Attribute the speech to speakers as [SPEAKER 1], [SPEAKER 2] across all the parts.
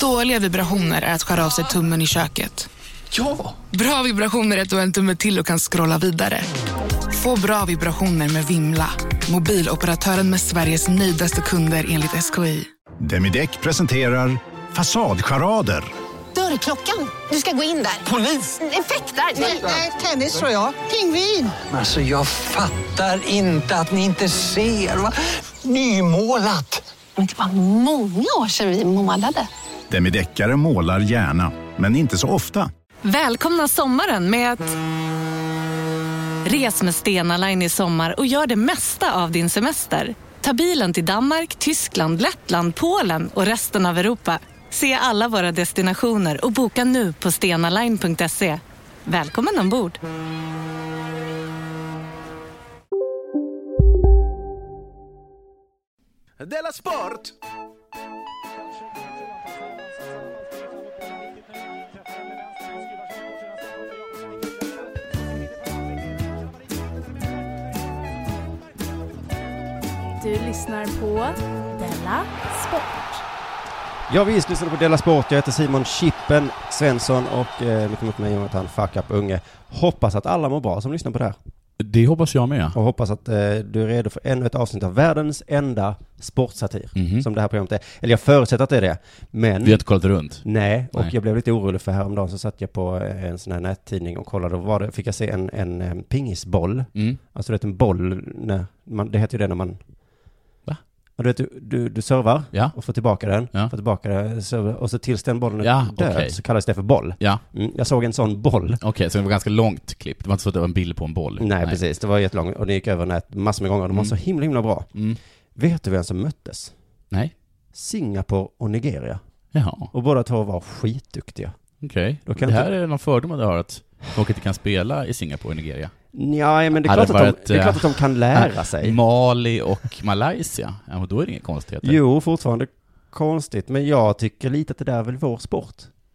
[SPEAKER 1] Dåliga vibrationer är att skära av sig tummen i köket.
[SPEAKER 2] Ja!
[SPEAKER 1] Bra vibrationer är att du har en tumme till och kan scrolla vidare. Få bra vibrationer med Vimla. Mobiloperatören med Sveriges nöjdaste kunder enligt SKI.
[SPEAKER 3] Demideck presenterar Fasadcharader.
[SPEAKER 4] Dörrklockan. Du ska gå in där. Polis? Effektar? Nej, tennis tror jag. Pingvin.
[SPEAKER 2] Alltså jag fattar inte att ni inte ser. Va? Nymålat!
[SPEAKER 5] Men
[SPEAKER 4] typ,
[SPEAKER 5] det var många år sedan vi målade.
[SPEAKER 3] Demideckare målar gärna, men inte så ofta.
[SPEAKER 6] Välkomna sommaren med att... Res med Stena Line i sommar och gör det mesta av din semester. Ta bilen till Danmark, Tyskland, Lettland, Polen och resten av Europa. Se alla våra destinationer och boka nu på stenaline.se. Välkommen ombord!
[SPEAKER 7] Della Sport!
[SPEAKER 8] Du lyssnar på Della Sport.
[SPEAKER 9] Ja visst, lyssnar du på Della Sport. Jag heter Simon Chippen Svensson och eh, mitt emot mig Jonathan Fuck Up Unge. Hoppas att alla mår bra som lyssnar på det här.
[SPEAKER 10] Det hoppas jag med.
[SPEAKER 9] Och hoppas att eh, du är redo för ännu ett avsnitt av världens enda sportsatir.
[SPEAKER 10] Mhm.
[SPEAKER 9] Som det här programmet är. Eller jag förutsätter att det är det. Men...
[SPEAKER 10] Vi har inte kollat runt.
[SPEAKER 9] Nej, och
[SPEAKER 10] Nej.
[SPEAKER 9] jag blev lite orolig för häromdagen så satt jag på eh, en sån här nättidning och kollade och var det, fick jag se en, en, eh, pingisboll.
[SPEAKER 10] Mm.
[SPEAKER 9] Alltså du vet en boll, när man, det heter ju det när man...
[SPEAKER 10] Va?
[SPEAKER 9] Ja, du, vet, du, du, du servar
[SPEAKER 10] Ja.
[SPEAKER 9] och får tillbaka den,
[SPEAKER 10] Ja.
[SPEAKER 9] får tillbaka den, servar, och så tills den bollen är
[SPEAKER 10] Ja,
[SPEAKER 9] död
[SPEAKER 10] okej.
[SPEAKER 9] så kallas det för boll.
[SPEAKER 10] Ja,
[SPEAKER 9] Mm, jag såg en sån boll.
[SPEAKER 10] okej, så det var ganska långt klipp. Det var inte så att det var en bild på en boll.
[SPEAKER 9] Nej, precis, det var jättelångt och det gick över nät massor med gånger och de var så himla himla bra.
[SPEAKER 10] Mm.
[SPEAKER 9] Vet du vem som möttes?
[SPEAKER 10] Nej,
[SPEAKER 9] Singapore och Nigeria.
[SPEAKER 10] jaha,
[SPEAKER 9] Och båda två var skitduktiga.
[SPEAKER 10] okej.
[SPEAKER 9] Då kan
[SPEAKER 10] Det
[SPEAKER 9] inte-
[SPEAKER 10] här är någon fördom jag har att folk inte kan spela i Singapore och Nigeria.
[SPEAKER 9] Ja, men det är,
[SPEAKER 10] Hade
[SPEAKER 9] klart att,
[SPEAKER 10] varit,
[SPEAKER 9] de, det är
[SPEAKER 10] eh,
[SPEAKER 9] klart att de kan lära sig.
[SPEAKER 10] Mali och Malaysia, ja, men då är det inga konstigheter.
[SPEAKER 9] Jo, fortfarande konstigt, men jag tycker lite att det där är väl vår sport.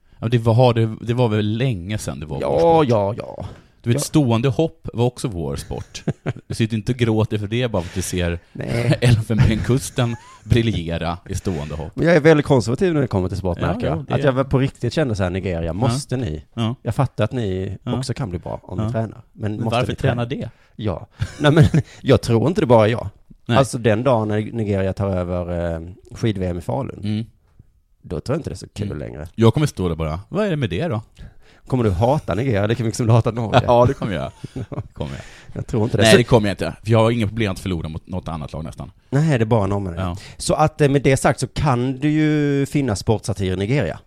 [SPEAKER 10] Ja, men Det var, det, det var väl länge sedan det var vår
[SPEAKER 9] Ja,
[SPEAKER 10] sport.
[SPEAKER 9] ja, ja.
[SPEAKER 10] Du vet,
[SPEAKER 9] ja.
[SPEAKER 10] stående hopp var också vår sport. Du sitter inte och gråter för det bara för att du ser
[SPEAKER 9] Nej.
[SPEAKER 10] Elfenbenskusten briljera i stående hopp.
[SPEAKER 9] Men jag är väldigt konservativ när det kommer till sport,
[SPEAKER 10] Ja,
[SPEAKER 9] märker
[SPEAKER 10] ja,
[SPEAKER 9] jag.
[SPEAKER 10] det
[SPEAKER 9] Att
[SPEAKER 10] är-
[SPEAKER 9] jag väl på riktigt känner så här, Nigeria, måste ni?
[SPEAKER 10] Ja.
[SPEAKER 9] Jag fattar att ni
[SPEAKER 10] Ja.
[SPEAKER 9] också kan bli bra om ni
[SPEAKER 10] Ja.
[SPEAKER 9] tränar. Men,
[SPEAKER 10] Men
[SPEAKER 9] måste
[SPEAKER 10] varför
[SPEAKER 9] ni
[SPEAKER 10] träna det?
[SPEAKER 9] Ja. Nej, men jag tror inte det bara är jag.
[SPEAKER 10] Nej.
[SPEAKER 9] Alltså den dagen när Nigeria tar över eh, skid-VM i Falun,
[SPEAKER 10] Mm.
[SPEAKER 9] då tror jag inte det är så kul
[SPEAKER 10] Mm.
[SPEAKER 9] längre.
[SPEAKER 10] Jag kommer stå där bara, vad är det med det då?
[SPEAKER 9] Kommer du hata Nigeria lika mycket som du hatar Norge?
[SPEAKER 10] Ja, det kommer jag. Det kommer jag.
[SPEAKER 9] Jag tror inte det.
[SPEAKER 10] Nej,
[SPEAKER 9] Så-
[SPEAKER 10] det kommer jag inte. För jag har inga problem att förlora mot något annat lag nästan.
[SPEAKER 9] Nej, det är bara norrmännen.
[SPEAKER 10] Ja.
[SPEAKER 9] Så att eh, med det sagt så kan du ju finna sportsatir i Nigeria.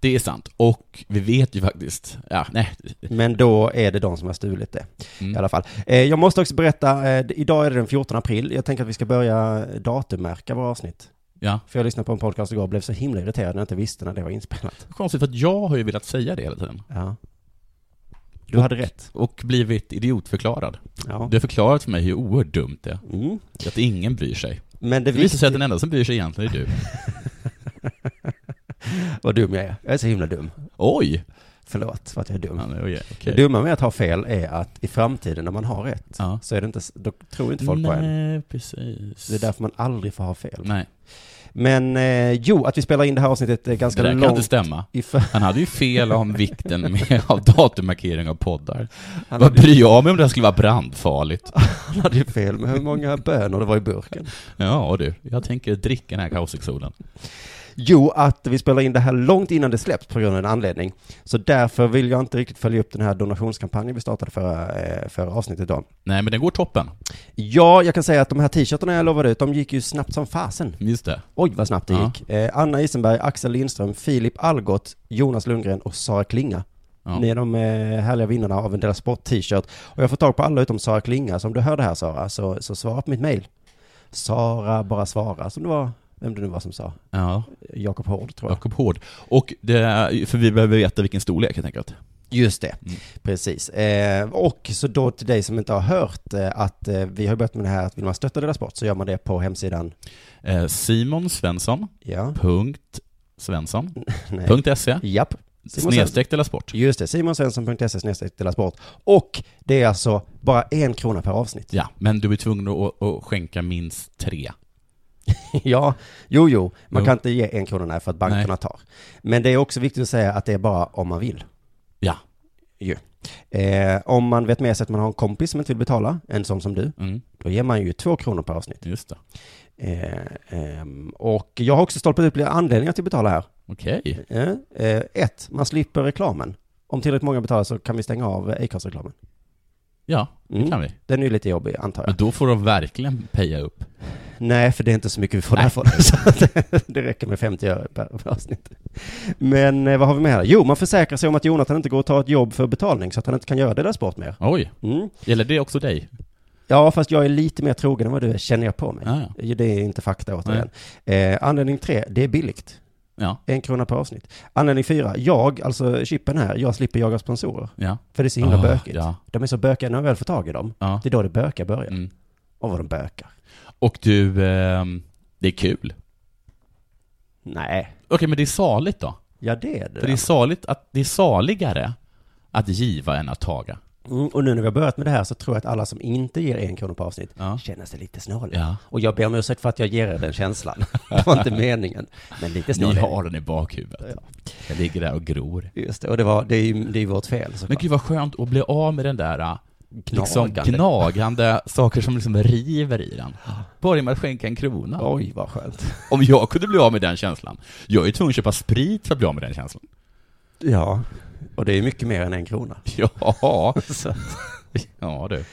[SPEAKER 10] Det är sant. Och vi vet ju faktiskt, ja, nej.
[SPEAKER 9] Men då är det de som har stulit det.
[SPEAKER 10] Mm.
[SPEAKER 9] I alla fall. Eh, jag måste också berätta, eh, d- idag är det den 14 april. Jag tänker att vi ska börja eh, datummärka våra avsnitt.
[SPEAKER 10] Ja.
[SPEAKER 9] För jag lyssnade på en podcast igår och blev så himla irriterad när jag inte visste när det var inspelat.
[SPEAKER 10] Konstigt, för att jag har ju velat säga det hela tiden.
[SPEAKER 9] Ja. Du hade rätt.
[SPEAKER 10] Och blivit idiotförklarad.
[SPEAKER 9] Ja.
[SPEAKER 10] Du har förklarat för mig hur oerhört dumt det är.
[SPEAKER 9] Mm.
[SPEAKER 10] Att ingen bryr sig.
[SPEAKER 9] Men det
[SPEAKER 10] Det visar sig att den
[SPEAKER 9] viktiga...
[SPEAKER 10] enda som bryr sig egentligen är du.
[SPEAKER 9] Vad dum jag är. Jag är så himla dum.
[SPEAKER 10] Oj!
[SPEAKER 9] Förlåt för att jag är dum.
[SPEAKER 10] Ja, nej, oj,
[SPEAKER 9] Det
[SPEAKER 10] okej.
[SPEAKER 9] dumma med att ha fel är att i framtiden när man har rätt
[SPEAKER 10] Ja.
[SPEAKER 9] så är det inte, s- då tror inte folk på en.
[SPEAKER 10] Nej, precis.
[SPEAKER 9] Det är därför man aldrig får ha fel.
[SPEAKER 10] Nej,
[SPEAKER 9] Men eh, jo, att vi spelar in det här avsnittet är ganska
[SPEAKER 10] det där kan inte
[SPEAKER 9] långt.
[SPEAKER 10] stämma.
[SPEAKER 9] i för...
[SPEAKER 10] Han hade ju fel om vikten med, av datummarkering av poddar.
[SPEAKER 9] Han
[SPEAKER 10] Vad
[SPEAKER 9] hade,
[SPEAKER 10] bryr jag mig om det här skulle vara brandfarligt?
[SPEAKER 9] han hade ju fel med hur många bönor det var i burken.
[SPEAKER 10] Ja du, jag tänker dricka den här kausexolen.
[SPEAKER 9] Jo, att vi spelar in det här långt innan det släpps på grund av en anledning. Så därför vill jag inte riktigt följa upp den här donationskampanjen vi startade förra, eh, förra avsnittet då.
[SPEAKER 10] Nej men den går toppen.
[SPEAKER 9] Ja, jag kan säga att de här t-shirtarna jag lovade ut, de gick ju snabbt som fasen.
[SPEAKER 10] Just det.
[SPEAKER 9] Oj, vad snabbt det
[SPEAKER 10] Ja.
[SPEAKER 9] gick. Eh, Anna Isenberg, Axel Lindström, Filip Algot, Jonas Lundgren och Sara Klinga.
[SPEAKER 10] Ja.
[SPEAKER 9] Ni är de eh, härliga vinnarna av en Della Sport t-shirt. Och jag får tag på alla utom Sara Klinga. Så om du hör det här Sara, så, så svara på mitt mejl. Sara bara svara, som det var, vem det nu var som sa.
[SPEAKER 10] Ja,
[SPEAKER 9] Jakob Hård tror jag.
[SPEAKER 10] Jakob Hård. Och det, för vi behöver veta vilken storlek jag tänker att.
[SPEAKER 9] Just det, precis. Eh, och så då till dig som inte har hört eh, att eh, vi har börjat med det här att vill man stötta Della Sport så gör man det på hemsidan.
[SPEAKER 10] Eh, Simon Svensson.
[SPEAKER 9] Ja,
[SPEAKER 10] Punkt Svensson.
[SPEAKER 9] nej.
[SPEAKER 10] Punkt SE.
[SPEAKER 9] Japp. Simon Svensson.
[SPEAKER 10] Snedstreck eller sport.
[SPEAKER 9] Just det, simonsvensson.se snedstreck Della Sport. Och det är alltså bara en krona per avsnitt.
[SPEAKER 10] Ja, men du är tvungen att, att skänka minst tre.
[SPEAKER 9] ja, jo, jo, man
[SPEAKER 10] Jo.
[SPEAKER 9] kan inte ge en krona för att bankerna
[SPEAKER 10] Nej.
[SPEAKER 9] tar. Men det är också viktigt att säga att det är bara om man vill.
[SPEAKER 10] Ja.
[SPEAKER 9] Ju. Eh, om man vet med sig att man har en kompis som inte vill betala, en sån som du,
[SPEAKER 10] Mm,
[SPEAKER 9] då ger man ju två kronor per avsnitt.
[SPEAKER 10] just det.
[SPEAKER 9] Eh, ehm, och jag har också stolpat upp lite anledningar till att betala här.
[SPEAKER 10] Okej.
[SPEAKER 9] Eh, eh, ett, man slipper reklamen. Om tillräckligt många betalar så kan vi stänga av eh, Acast-reklamen.
[SPEAKER 10] Ja, det
[SPEAKER 9] Mm.
[SPEAKER 10] kan vi.
[SPEAKER 9] Den är ju lite jobbig, antar jag.
[SPEAKER 10] Men då får de verkligen peja upp.
[SPEAKER 9] Nej, för det är inte så mycket vi får
[SPEAKER 10] Nej.
[SPEAKER 9] därifrån. Så att det- det räcker med 50 öre per per avsnitt. Men eh, vad har vi med här? Jo, man försäkrar sig om att Jonathan inte går och tar ett jobb för betalning så att han inte kan göra det där sport mer.
[SPEAKER 10] Oj,
[SPEAKER 9] Mm.
[SPEAKER 10] gäller det också dig?
[SPEAKER 9] Ja, fast jag är lite mer trogen än vad du är, känner jag på mig.
[SPEAKER 10] Ah, ja.
[SPEAKER 9] Det är inte fakta återigen. Eh, anledning tre, det är billigt.
[SPEAKER 10] Ja,
[SPEAKER 9] En krona per avsnitt. Anledning fyra, jag, alltså chippen här, jag slipper jaga sponsorer.
[SPEAKER 10] ja.
[SPEAKER 9] För det är så himla
[SPEAKER 10] Ah,
[SPEAKER 9] bökigt.
[SPEAKER 10] ja.
[SPEAKER 9] De är så bökiga när man väl får tag i dem.
[SPEAKER 10] ja.
[SPEAKER 9] Det är då det bökiga börjar.
[SPEAKER 10] Mm.
[SPEAKER 9] Och vad de bökar.
[SPEAKER 10] Och du, ehm, det är kul.
[SPEAKER 9] Nej,
[SPEAKER 10] Okej, men det är saligt då?
[SPEAKER 9] ja det är det.
[SPEAKER 10] För det är saligt att, det är saligare att giva än att taga.
[SPEAKER 9] Mm, och nu när vi har börjat med det här så tror jag att alla som inte ger en krona per avsnitt
[SPEAKER 10] Ja.
[SPEAKER 9] känner sig lite snåla.
[SPEAKER 10] Ja.
[SPEAKER 9] Och jag ber om ursäkt för att jag ger er den känslan. det var inte meningen. Men lite snål
[SPEAKER 10] Ni
[SPEAKER 9] är det.
[SPEAKER 10] har den i bakhuvudet. Jag ligger där och gror.
[SPEAKER 9] Just det, och det, var, det, är, ju, det är ju vårt fel
[SPEAKER 10] Men
[SPEAKER 9] såklart.
[SPEAKER 10] gud vad skönt att bli av med den där äh, liksom
[SPEAKER 9] Gnagande.
[SPEAKER 10] gnagande saker som liksom river i den. Bara genom att skänka en krona.
[SPEAKER 9] Oj, vad skönt.
[SPEAKER 10] Om jag kunde bli av med den känslan. Jag är ju tvungen att köpa sprit för att bli av med den känslan.
[SPEAKER 9] Ja, och det är mycket mer än en krona.
[SPEAKER 10] Ja,
[SPEAKER 9] Så att-
[SPEAKER 10] ja du.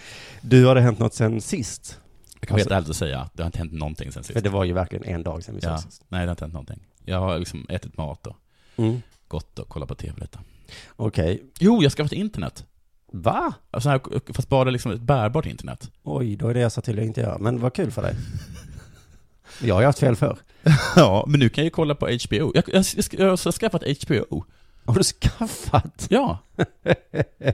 [SPEAKER 9] Du, har det hänt något sen sist?
[SPEAKER 10] Jag kan vara helt ärlig och säga, det har inte hänt någonting sen
[SPEAKER 9] För
[SPEAKER 10] sist.
[SPEAKER 9] det var ju verkligen en dag sen vi
[SPEAKER 10] Ja,
[SPEAKER 9] sågs sist.
[SPEAKER 10] nej, det har inte hänt någonting. Jag har liksom ätit mat och
[SPEAKER 9] Mm.
[SPEAKER 10] gått och kollat på TV lite.
[SPEAKER 9] Okej.
[SPEAKER 10] Jo, jag ska få ett internet.
[SPEAKER 9] Va?
[SPEAKER 10] Alltså här, fast bara liksom ett bärbart internet.
[SPEAKER 9] Oj, då är det jag sa till dig att inte göra. Men vad kul för dig. Jag har ju haft fel förr.
[SPEAKER 10] Ja, men nu kan jag ju kolla på HBO. Jag, jag, jag, ska- jag har skaffat HBO.
[SPEAKER 9] Har du skaffat?
[SPEAKER 10] Ja,
[SPEAKER 9] Oj,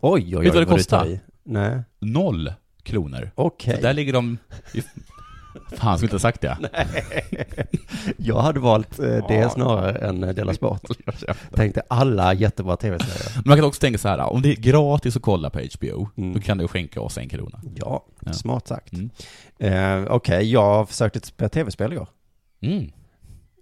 [SPEAKER 9] oj, oj.
[SPEAKER 10] Vet du vad det
[SPEAKER 9] du
[SPEAKER 10] kostar?
[SPEAKER 9] tar i. Nej.
[SPEAKER 10] noll kronor.
[SPEAKER 9] Okej.
[SPEAKER 10] Så där ligger de... i- Fan, skulle inte ha sagt det.
[SPEAKER 9] Jag hade valt eh, det snarare än eh, Della Sport. Tänkte alla jättebra tv-serier.
[SPEAKER 10] Men man kan också tänka så här, om det är gratis att kolla på HBO,
[SPEAKER 9] Mm.
[SPEAKER 10] då kan du skänka oss en krona.
[SPEAKER 9] Ja,
[SPEAKER 10] Ja.
[SPEAKER 9] smart sagt.
[SPEAKER 10] Mm.
[SPEAKER 9] Eh, Okej, jag försökte spela tv-spel igår.
[SPEAKER 10] Mm.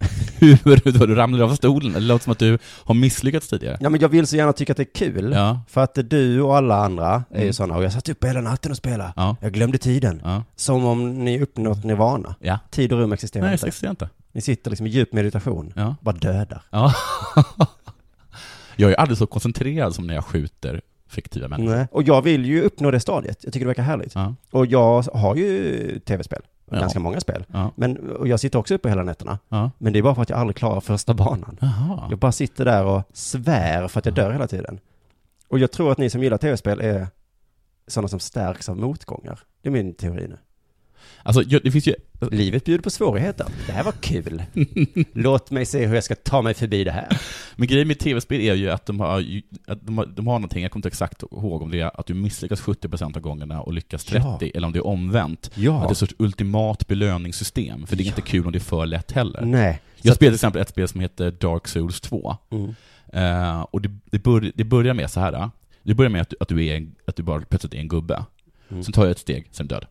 [SPEAKER 10] Hur då du ramlade av stolen? Det låter som att du har misslyckats tidigare.
[SPEAKER 9] Ja, men jag vill så gärna tycka att det är kul.
[SPEAKER 10] Ja.
[SPEAKER 9] För att du och alla andra är ju
[SPEAKER 10] Mm.
[SPEAKER 9] sådana, och jag satt uppe hela natten och spelade.
[SPEAKER 10] Ja.
[SPEAKER 9] Jag glömde tiden.
[SPEAKER 10] Ja.
[SPEAKER 9] Som om ni uppnått nirvana.
[SPEAKER 10] Ja.
[SPEAKER 9] Tid och rum existerar
[SPEAKER 10] Nej,
[SPEAKER 9] inte.
[SPEAKER 10] det ser jag inte.
[SPEAKER 9] Ni sitter liksom i djup meditation.
[SPEAKER 10] Ja.
[SPEAKER 9] Bara dödar.
[SPEAKER 10] ja. Jag är aldrig så koncentrerad som när jag skjuter fiktiva människor.
[SPEAKER 9] Nej. Mm. Och jag vill ju uppnå det stadiet. Jag tycker det verkar härligt.
[SPEAKER 10] Ja.
[SPEAKER 9] Och jag har ju tv-spel.
[SPEAKER 10] Ja.
[SPEAKER 9] Ganska många spel.
[SPEAKER 10] Ja.
[SPEAKER 9] Men, och jag sitter också uppe hela nätterna.
[SPEAKER 10] Ja.
[SPEAKER 9] Men det är bara för att jag aldrig klarar första banan.
[SPEAKER 10] Jaha.
[SPEAKER 9] Jag bara sitter där och svär för att jag dör hela tiden. Och jag tror att ni som gillar tv-spel är sådana som stärks av motgångar. Det är min teori nu.
[SPEAKER 10] Alltså, jag- det finns ju...
[SPEAKER 9] Livet bjuder på svårigheter. Det här var kul. Låt mig se hur jag ska ta mig förbi det här.
[SPEAKER 10] Men grejen med tv-spel är ju att de har, ju- att de har, de har någonting, jag kommer inte exakt ihåg om det är att du misslyckas 70% av gångerna och lyckas 30%, eller om det är omvänt.
[SPEAKER 9] Ja.
[SPEAKER 10] Att det är ett sorts ultimat belöningssystem, för det är inte kul om det är för lätt heller.
[SPEAKER 9] Nej.
[SPEAKER 10] Jag spelade till exempel ett spel som heter Dark Souls 2.
[SPEAKER 9] Mm.
[SPEAKER 10] Eh, och det, det, bör, det börjar med så här. eh. Det börjar med att du, att du, är, en- att du bara plötsligt är en gubbe. Sen tar jag ett steg, sen död.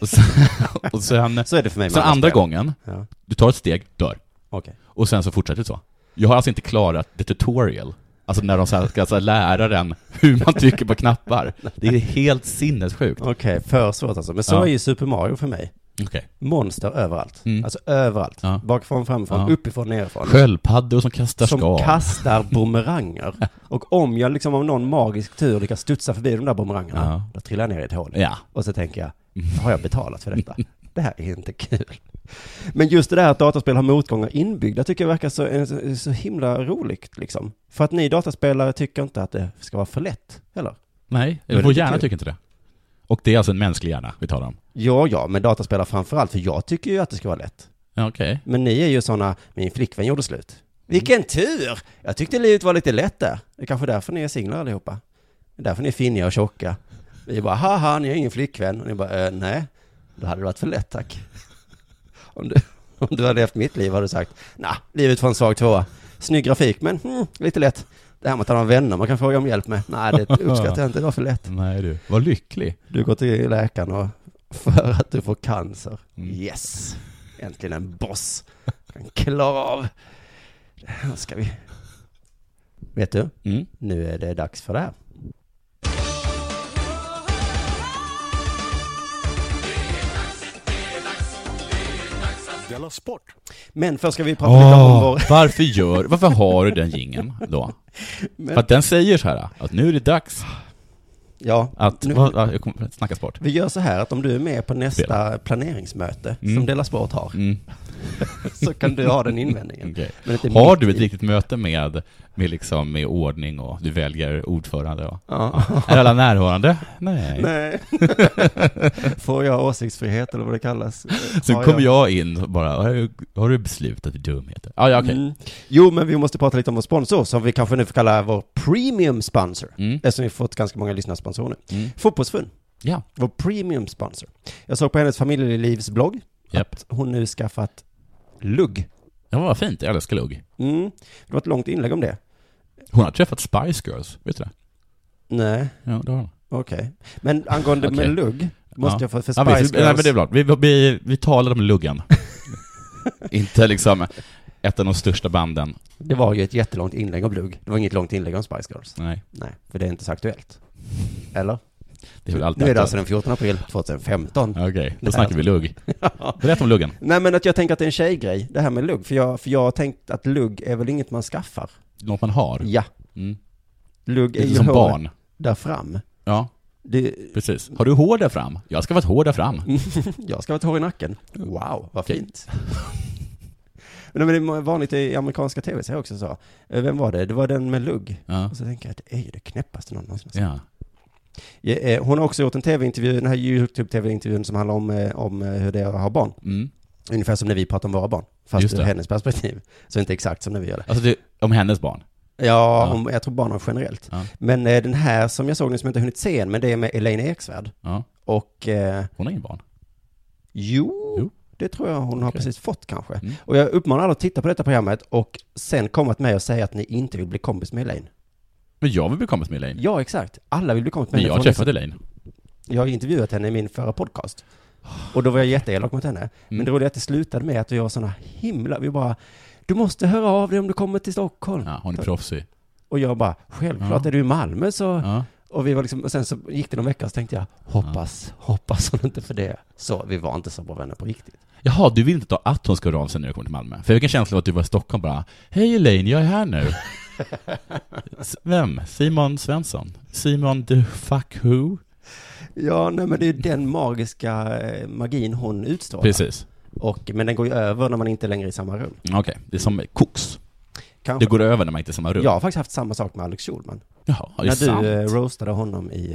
[SPEAKER 10] och sen, och sen,
[SPEAKER 9] Så är det för mig med
[SPEAKER 10] sen
[SPEAKER 9] alla
[SPEAKER 10] andra
[SPEAKER 9] spel.
[SPEAKER 10] gången,
[SPEAKER 9] Ja.
[SPEAKER 10] du tar ett steg, dör.
[SPEAKER 9] Okej.
[SPEAKER 10] Och sen så fortsätter det så. Jag har alltså inte klarat the tutorial. Alltså när de så här ska alltså lära den hur man trycker på knappar. Det är helt sinnessjukt.
[SPEAKER 9] Okej, för svårt alltså. Men så
[SPEAKER 10] Ja.
[SPEAKER 9] är ju Super Mario för mig.
[SPEAKER 10] Okej.
[SPEAKER 9] Monster överallt.
[SPEAKER 10] Mm.
[SPEAKER 9] Alltså överallt.
[SPEAKER 10] Ja.
[SPEAKER 9] Bakifrån, framifrån,
[SPEAKER 10] Ja.
[SPEAKER 9] uppifrån, nerifrån.
[SPEAKER 10] Sköldpaddor som kastar
[SPEAKER 9] som
[SPEAKER 10] skal.
[SPEAKER 9] kastar bumeranger. Och om jag liksom av någon magisk tur lyckas studsa förbi de där bumerangerna,
[SPEAKER 10] Ja.
[SPEAKER 9] då trillar jag ner i ett hål.
[SPEAKER 10] Ja. Mm.
[SPEAKER 9] Och så tänker jag, har jag betalat för detta? Det här är inte kul. Men just det där att dataspel har motgångar inbyggda tycker jag verkar så, eh, så, så himla roligt liksom. För att ni dataspelare tycker inte att det ska vara för lätt, eller?
[SPEAKER 10] Nej,
[SPEAKER 9] Då är det
[SPEAKER 10] vår
[SPEAKER 9] lite
[SPEAKER 10] hjärna
[SPEAKER 9] kul.
[SPEAKER 10] tycker inte det. Och det är alltså en mänsklig hjärna vi talar om.
[SPEAKER 9] Ja, ja, men dataspelare framförallt, för jag tycker ju att det ska vara lätt.
[SPEAKER 10] Ja, Okej.
[SPEAKER 9] Men ni är ju sådana, min flickvän gjorde slut. Vilken tur! Jag tyckte livet var lite lätt där. Det är kanske därför ni är singlar allihopa. Det är därför ni är finniga och tjocka. Vi bara, haha, ni har ingen flickvän. Och ni bara, eh, nej, då hade det varit för lätt tack. Om du, om du hade levt mitt liv hade du sagt, nej, livet var en svag tvåa. Snygg grafik, men hmm, lite lätt. Det här med att ha några vänner man kan fråga om hjälp med, nej, det uppskattar jag inte, det var för lätt.
[SPEAKER 10] Nej du, vad lycklig.
[SPEAKER 9] Du går till läkaren och för att du får cancer.
[SPEAKER 10] Mm.
[SPEAKER 9] Yes! Äntligen en boss. Kan klara av. Det här ska vi... Vet du?
[SPEAKER 10] Mm.
[SPEAKER 9] Nu är det dags för det här. Men först ska vi prata lite om
[SPEAKER 10] Ah.
[SPEAKER 9] vår...
[SPEAKER 10] varför gör, varför har du den gingen då? För att den säger så här, att nu är det dags
[SPEAKER 9] Ja,
[SPEAKER 10] att,
[SPEAKER 9] nu,
[SPEAKER 10] vad- vad- jag kommer snacka sport.
[SPEAKER 9] vi gör så här att om du är med på nästa planeringsmöte
[SPEAKER 10] Mm.
[SPEAKER 9] som Della Sport har,
[SPEAKER 10] Mm,
[SPEAKER 9] så kan du ha den invändningen.
[SPEAKER 10] okej.
[SPEAKER 9] Men inte
[SPEAKER 10] Har
[SPEAKER 9] mitt
[SPEAKER 10] du ett
[SPEAKER 9] i.
[SPEAKER 10] riktigt möte med, med, liksom, med ordning och du väljer ordförande? Och,
[SPEAKER 9] Ja.
[SPEAKER 10] är alla närvarande? Nej.
[SPEAKER 9] Nej. Får jag åsiktsfrihet eller vad det kallas?
[SPEAKER 10] Sen
[SPEAKER 9] Har
[SPEAKER 10] kommer jag in och bara, har du, har du beslutat i dumheter? Ah, ja, okej.
[SPEAKER 9] Mm. Jo, men vi måste prata lite om vår sponsor, som vi kanske nu får kalla vår premium sponsor.
[SPEAKER 10] Mm.
[SPEAKER 9] Eftersom vi fått ganska många lyssnarsponsorer nu.
[SPEAKER 10] Mm.
[SPEAKER 9] Fotbollsfun,
[SPEAKER 10] Ja,
[SPEAKER 9] vår premium sponsor. Jag såg på hennes familjelivs blogg
[SPEAKER 10] japp.
[SPEAKER 9] att hon nu skaffat lugg.
[SPEAKER 10] Ja, vad fint. Jag älskar lugg.
[SPEAKER 9] Mm. Det var ett långt inlägg om det.
[SPEAKER 10] Hon har träffat Spice Girls, vet du det?
[SPEAKER 9] Nej,
[SPEAKER 10] Ja, det har hon.
[SPEAKER 9] okej. Men angående
[SPEAKER 10] Okej.
[SPEAKER 9] med lugg, måste
[SPEAKER 10] Ja.
[SPEAKER 9] jag få för
[SPEAKER 10] Ja,
[SPEAKER 9] Spice
[SPEAKER 10] visst,
[SPEAKER 9] Girls.
[SPEAKER 10] nej, men det är bra. Vi, vi, vi talade om luggen. Inte liksom ett av de största banden.
[SPEAKER 9] det var ju ett jättelångt inlägg om lugg. Det var inget långt inlägg om Spice Girls.
[SPEAKER 10] Nej,
[SPEAKER 9] Nej, för det är inte så aktuellt. Eller?
[SPEAKER 10] det är väl alltid
[SPEAKER 9] Nu är det
[SPEAKER 10] aktuellt.
[SPEAKER 9] alltså den 14 april 2015.
[SPEAKER 10] Ja, Okej, då
[SPEAKER 9] Nej.
[SPEAKER 10] snackar vi lugg.
[SPEAKER 9] alltså.
[SPEAKER 10] Berätta om luggen.
[SPEAKER 9] Nej men att jag tänker att det är en tjejgrej, det här med lugg. För jag, för jag har tänkt att lugg är väl inget man skaffar?
[SPEAKER 10] Något man har.
[SPEAKER 9] Ja.
[SPEAKER 10] Mm.
[SPEAKER 9] Lugg är
[SPEAKER 10] Lite
[SPEAKER 9] ju
[SPEAKER 10] som
[SPEAKER 9] hår
[SPEAKER 10] barn.
[SPEAKER 9] där fram.
[SPEAKER 10] Ja,
[SPEAKER 9] Det,
[SPEAKER 10] precis. Har du hår där fram? Jag ska vara ett hår där fram.
[SPEAKER 9] Mm. jag ska ha ett hår i nacken. Wow, vad
[SPEAKER 10] Okej.
[SPEAKER 9] fint. men det är vanligt i amerikanska tv-serier också så. Eh, Vem var det? Det var den med lugg.
[SPEAKER 10] Ja.
[SPEAKER 9] Och så tänker jag att det är ju det knäppaste någon någonsin har sett.
[SPEAKER 10] ja.
[SPEAKER 9] Ja, eh, Hon har också gjort en tv-intervju, den här YouTube-tv-intervjun som handlar om, eh, om eh, hur det är att ha barn.
[SPEAKER 10] Mm.
[SPEAKER 9] Ungefär som när vi pratar om våra barn. Fast
[SPEAKER 10] Just
[SPEAKER 9] ur
[SPEAKER 10] det.
[SPEAKER 9] hennes perspektiv. Så inte exakt som när vi gör det.
[SPEAKER 10] Alltså, det, om hennes barn.
[SPEAKER 9] Ja,
[SPEAKER 10] Ja.
[SPEAKER 9] Om, jag tror barnen generellt.
[SPEAKER 10] Ja.
[SPEAKER 9] Men eh, den här som jag såg nu som jag inte hunnit se än, men det är med Elaine Eksvärd.
[SPEAKER 10] Ja.
[SPEAKER 9] Och eh,
[SPEAKER 10] Hon har ingen barn.
[SPEAKER 9] jo,
[SPEAKER 10] Jo.
[SPEAKER 9] det tror jag hon har
[SPEAKER 10] Okej.
[SPEAKER 9] precis fått kanske.
[SPEAKER 10] Mm.
[SPEAKER 9] Och jag uppmanar alla att titta på detta programmet och sen komma till mig och säga att ni inte vill bli kompis med Elaine.
[SPEAKER 10] Men jag vill bli kompis med Elaine.
[SPEAKER 9] Ja, exakt. Alla vill bli kompis med
[SPEAKER 10] Men
[SPEAKER 9] henne.
[SPEAKER 10] jag har
[SPEAKER 9] för hon är
[SPEAKER 10] träffat Elaine.
[SPEAKER 9] så- jag har intervjuat henne i min förra podcast. Och då var jag jätteelak mot henne.
[SPEAKER 10] Mm.
[SPEAKER 9] Men det roliga är att det slutade med att vi var sådana himla, vi bara, du måste höra av dig om du kommer till Stockholm.
[SPEAKER 10] Ja, hon är proffsig.
[SPEAKER 9] Och jag bara, självklart
[SPEAKER 10] Ja.
[SPEAKER 9] är du i Malmö så
[SPEAKER 10] Ja.
[SPEAKER 9] Och, vi var liksom, och sen så gick det någon vecka och så tänkte jag, hoppas, hoppas hon inte för det. Så vi var inte så bra vänner på riktigt.
[SPEAKER 10] Jaha, du vill inte ta att hon ska höra av sig när du kommer till Malmö? För jag fick en känsla av att du var i Stockholm bara Hej Elaine, jag är här nu. S- Vem? Simon Svensson? Simon the fuck who?
[SPEAKER 9] Ja, nej men det är ju den magiska eh, magin hon utstrålar.
[SPEAKER 10] Precis.
[SPEAKER 9] Och, men den går ju över när man inte är längre är i samma rum.
[SPEAKER 10] Okej, det är som koks.
[SPEAKER 9] Kanske.
[SPEAKER 10] Det går över när man inte är i samma rum.
[SPEAKER 9] Jag har faktiskt haft samma sak med Alex Schulman.
[SPEAKER 10] Jaha, det är
[SPEAKER 9] när
[SPEAKER 10] sant.
[SPEAKER 9] du eh, roastade honom i,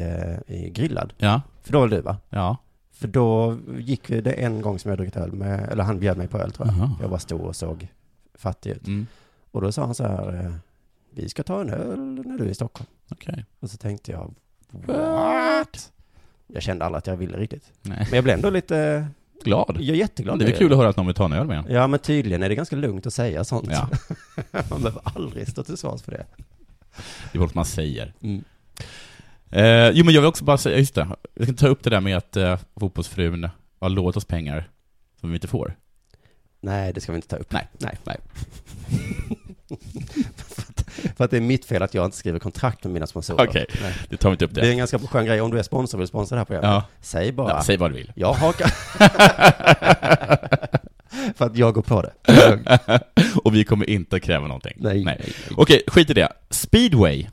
[SPEAKER 9] eh, i Grillad.
[SPEAKER 10] Ja,
[SPEAKER 9] För då var du va?
[SPEAKER 10] ja.
[SPEAKER 9] För då gick vi- det en gång som jag druckit öl med, eller han bjöd mig på öl tror jag.
[SPEAKER 10] Jaha.
[SPEAKER 9] Jag var stor och såg fattig ut.
[SPEAKER 10] Mm,
[SPEAKER 9] Och då sa han så här, eh, vi ska ta en öl när du är i Stockholm.
[SPEAKER 10] Okej.
[SPEAKER 9] Och så tänkte jag, what? Jag kände aldrig att jag ville riktigt.
[SPEAKER 10] Nej.
[SPEAKER 9] Men jag blev ändå lite,
[SPEAKER 10] Glad.
[SPEAKER 9] jag är jätteglad.
[SPEAKER 10] det är
[SPEAKER 9] nu.
[SPEAKER 10] väl kul att höra att någon vill ta en öl med en.
[SPEAKER 9] Ja, men tydligen är det ganska lugnt att säga sånt.
[SPEAKER 10] Ja,
[SPEAKER 9] Man behöver aldrig stå till svars för det.
[SPEAKER 10] det är vad man säger.
[SPEAKER 9] Mm.
[SPEAKER 10] Eh, jo, men jag vill också bara säga, just det. Jag ska ta upp det där med att eh, fotbollsfrun har lovat oss pengar som vi inte får.
[SPEAKER 9] Nej, det ska vi inte ta upp.
[SPEAKER 10] Nej.
[SPEAKER 9] Nej.
[SPEAKER 10] Nej.
[SPEAKER 9] För att det är mitt fel att jag inte skriver kontrakt med mina sponsorer.
[SPEAKER 10] Okej.
[SPEAKER 9] Nej.
[SPEAKER 10] Det tar vi inte upp
[SPEAKER 9] Det är
[SPEAKER 10] det.
[SPEAKER 9] en ganska skön grej om du är sponsor och vill sponsra det här programmet.
[SPEAKER 10] Ja.
[SPEAKER 9] Säg bara.
[SPEAKER 10] Ja, säg vad du vill.
[SPEAKER 9] Jag hakar. för att jag går på det.
[SPEAKER 10] Och vi kommer inte kräva någonting.
[SPEAKER 9] Nej.
[SPEAKER 10] Okej, skit i det. Speedway.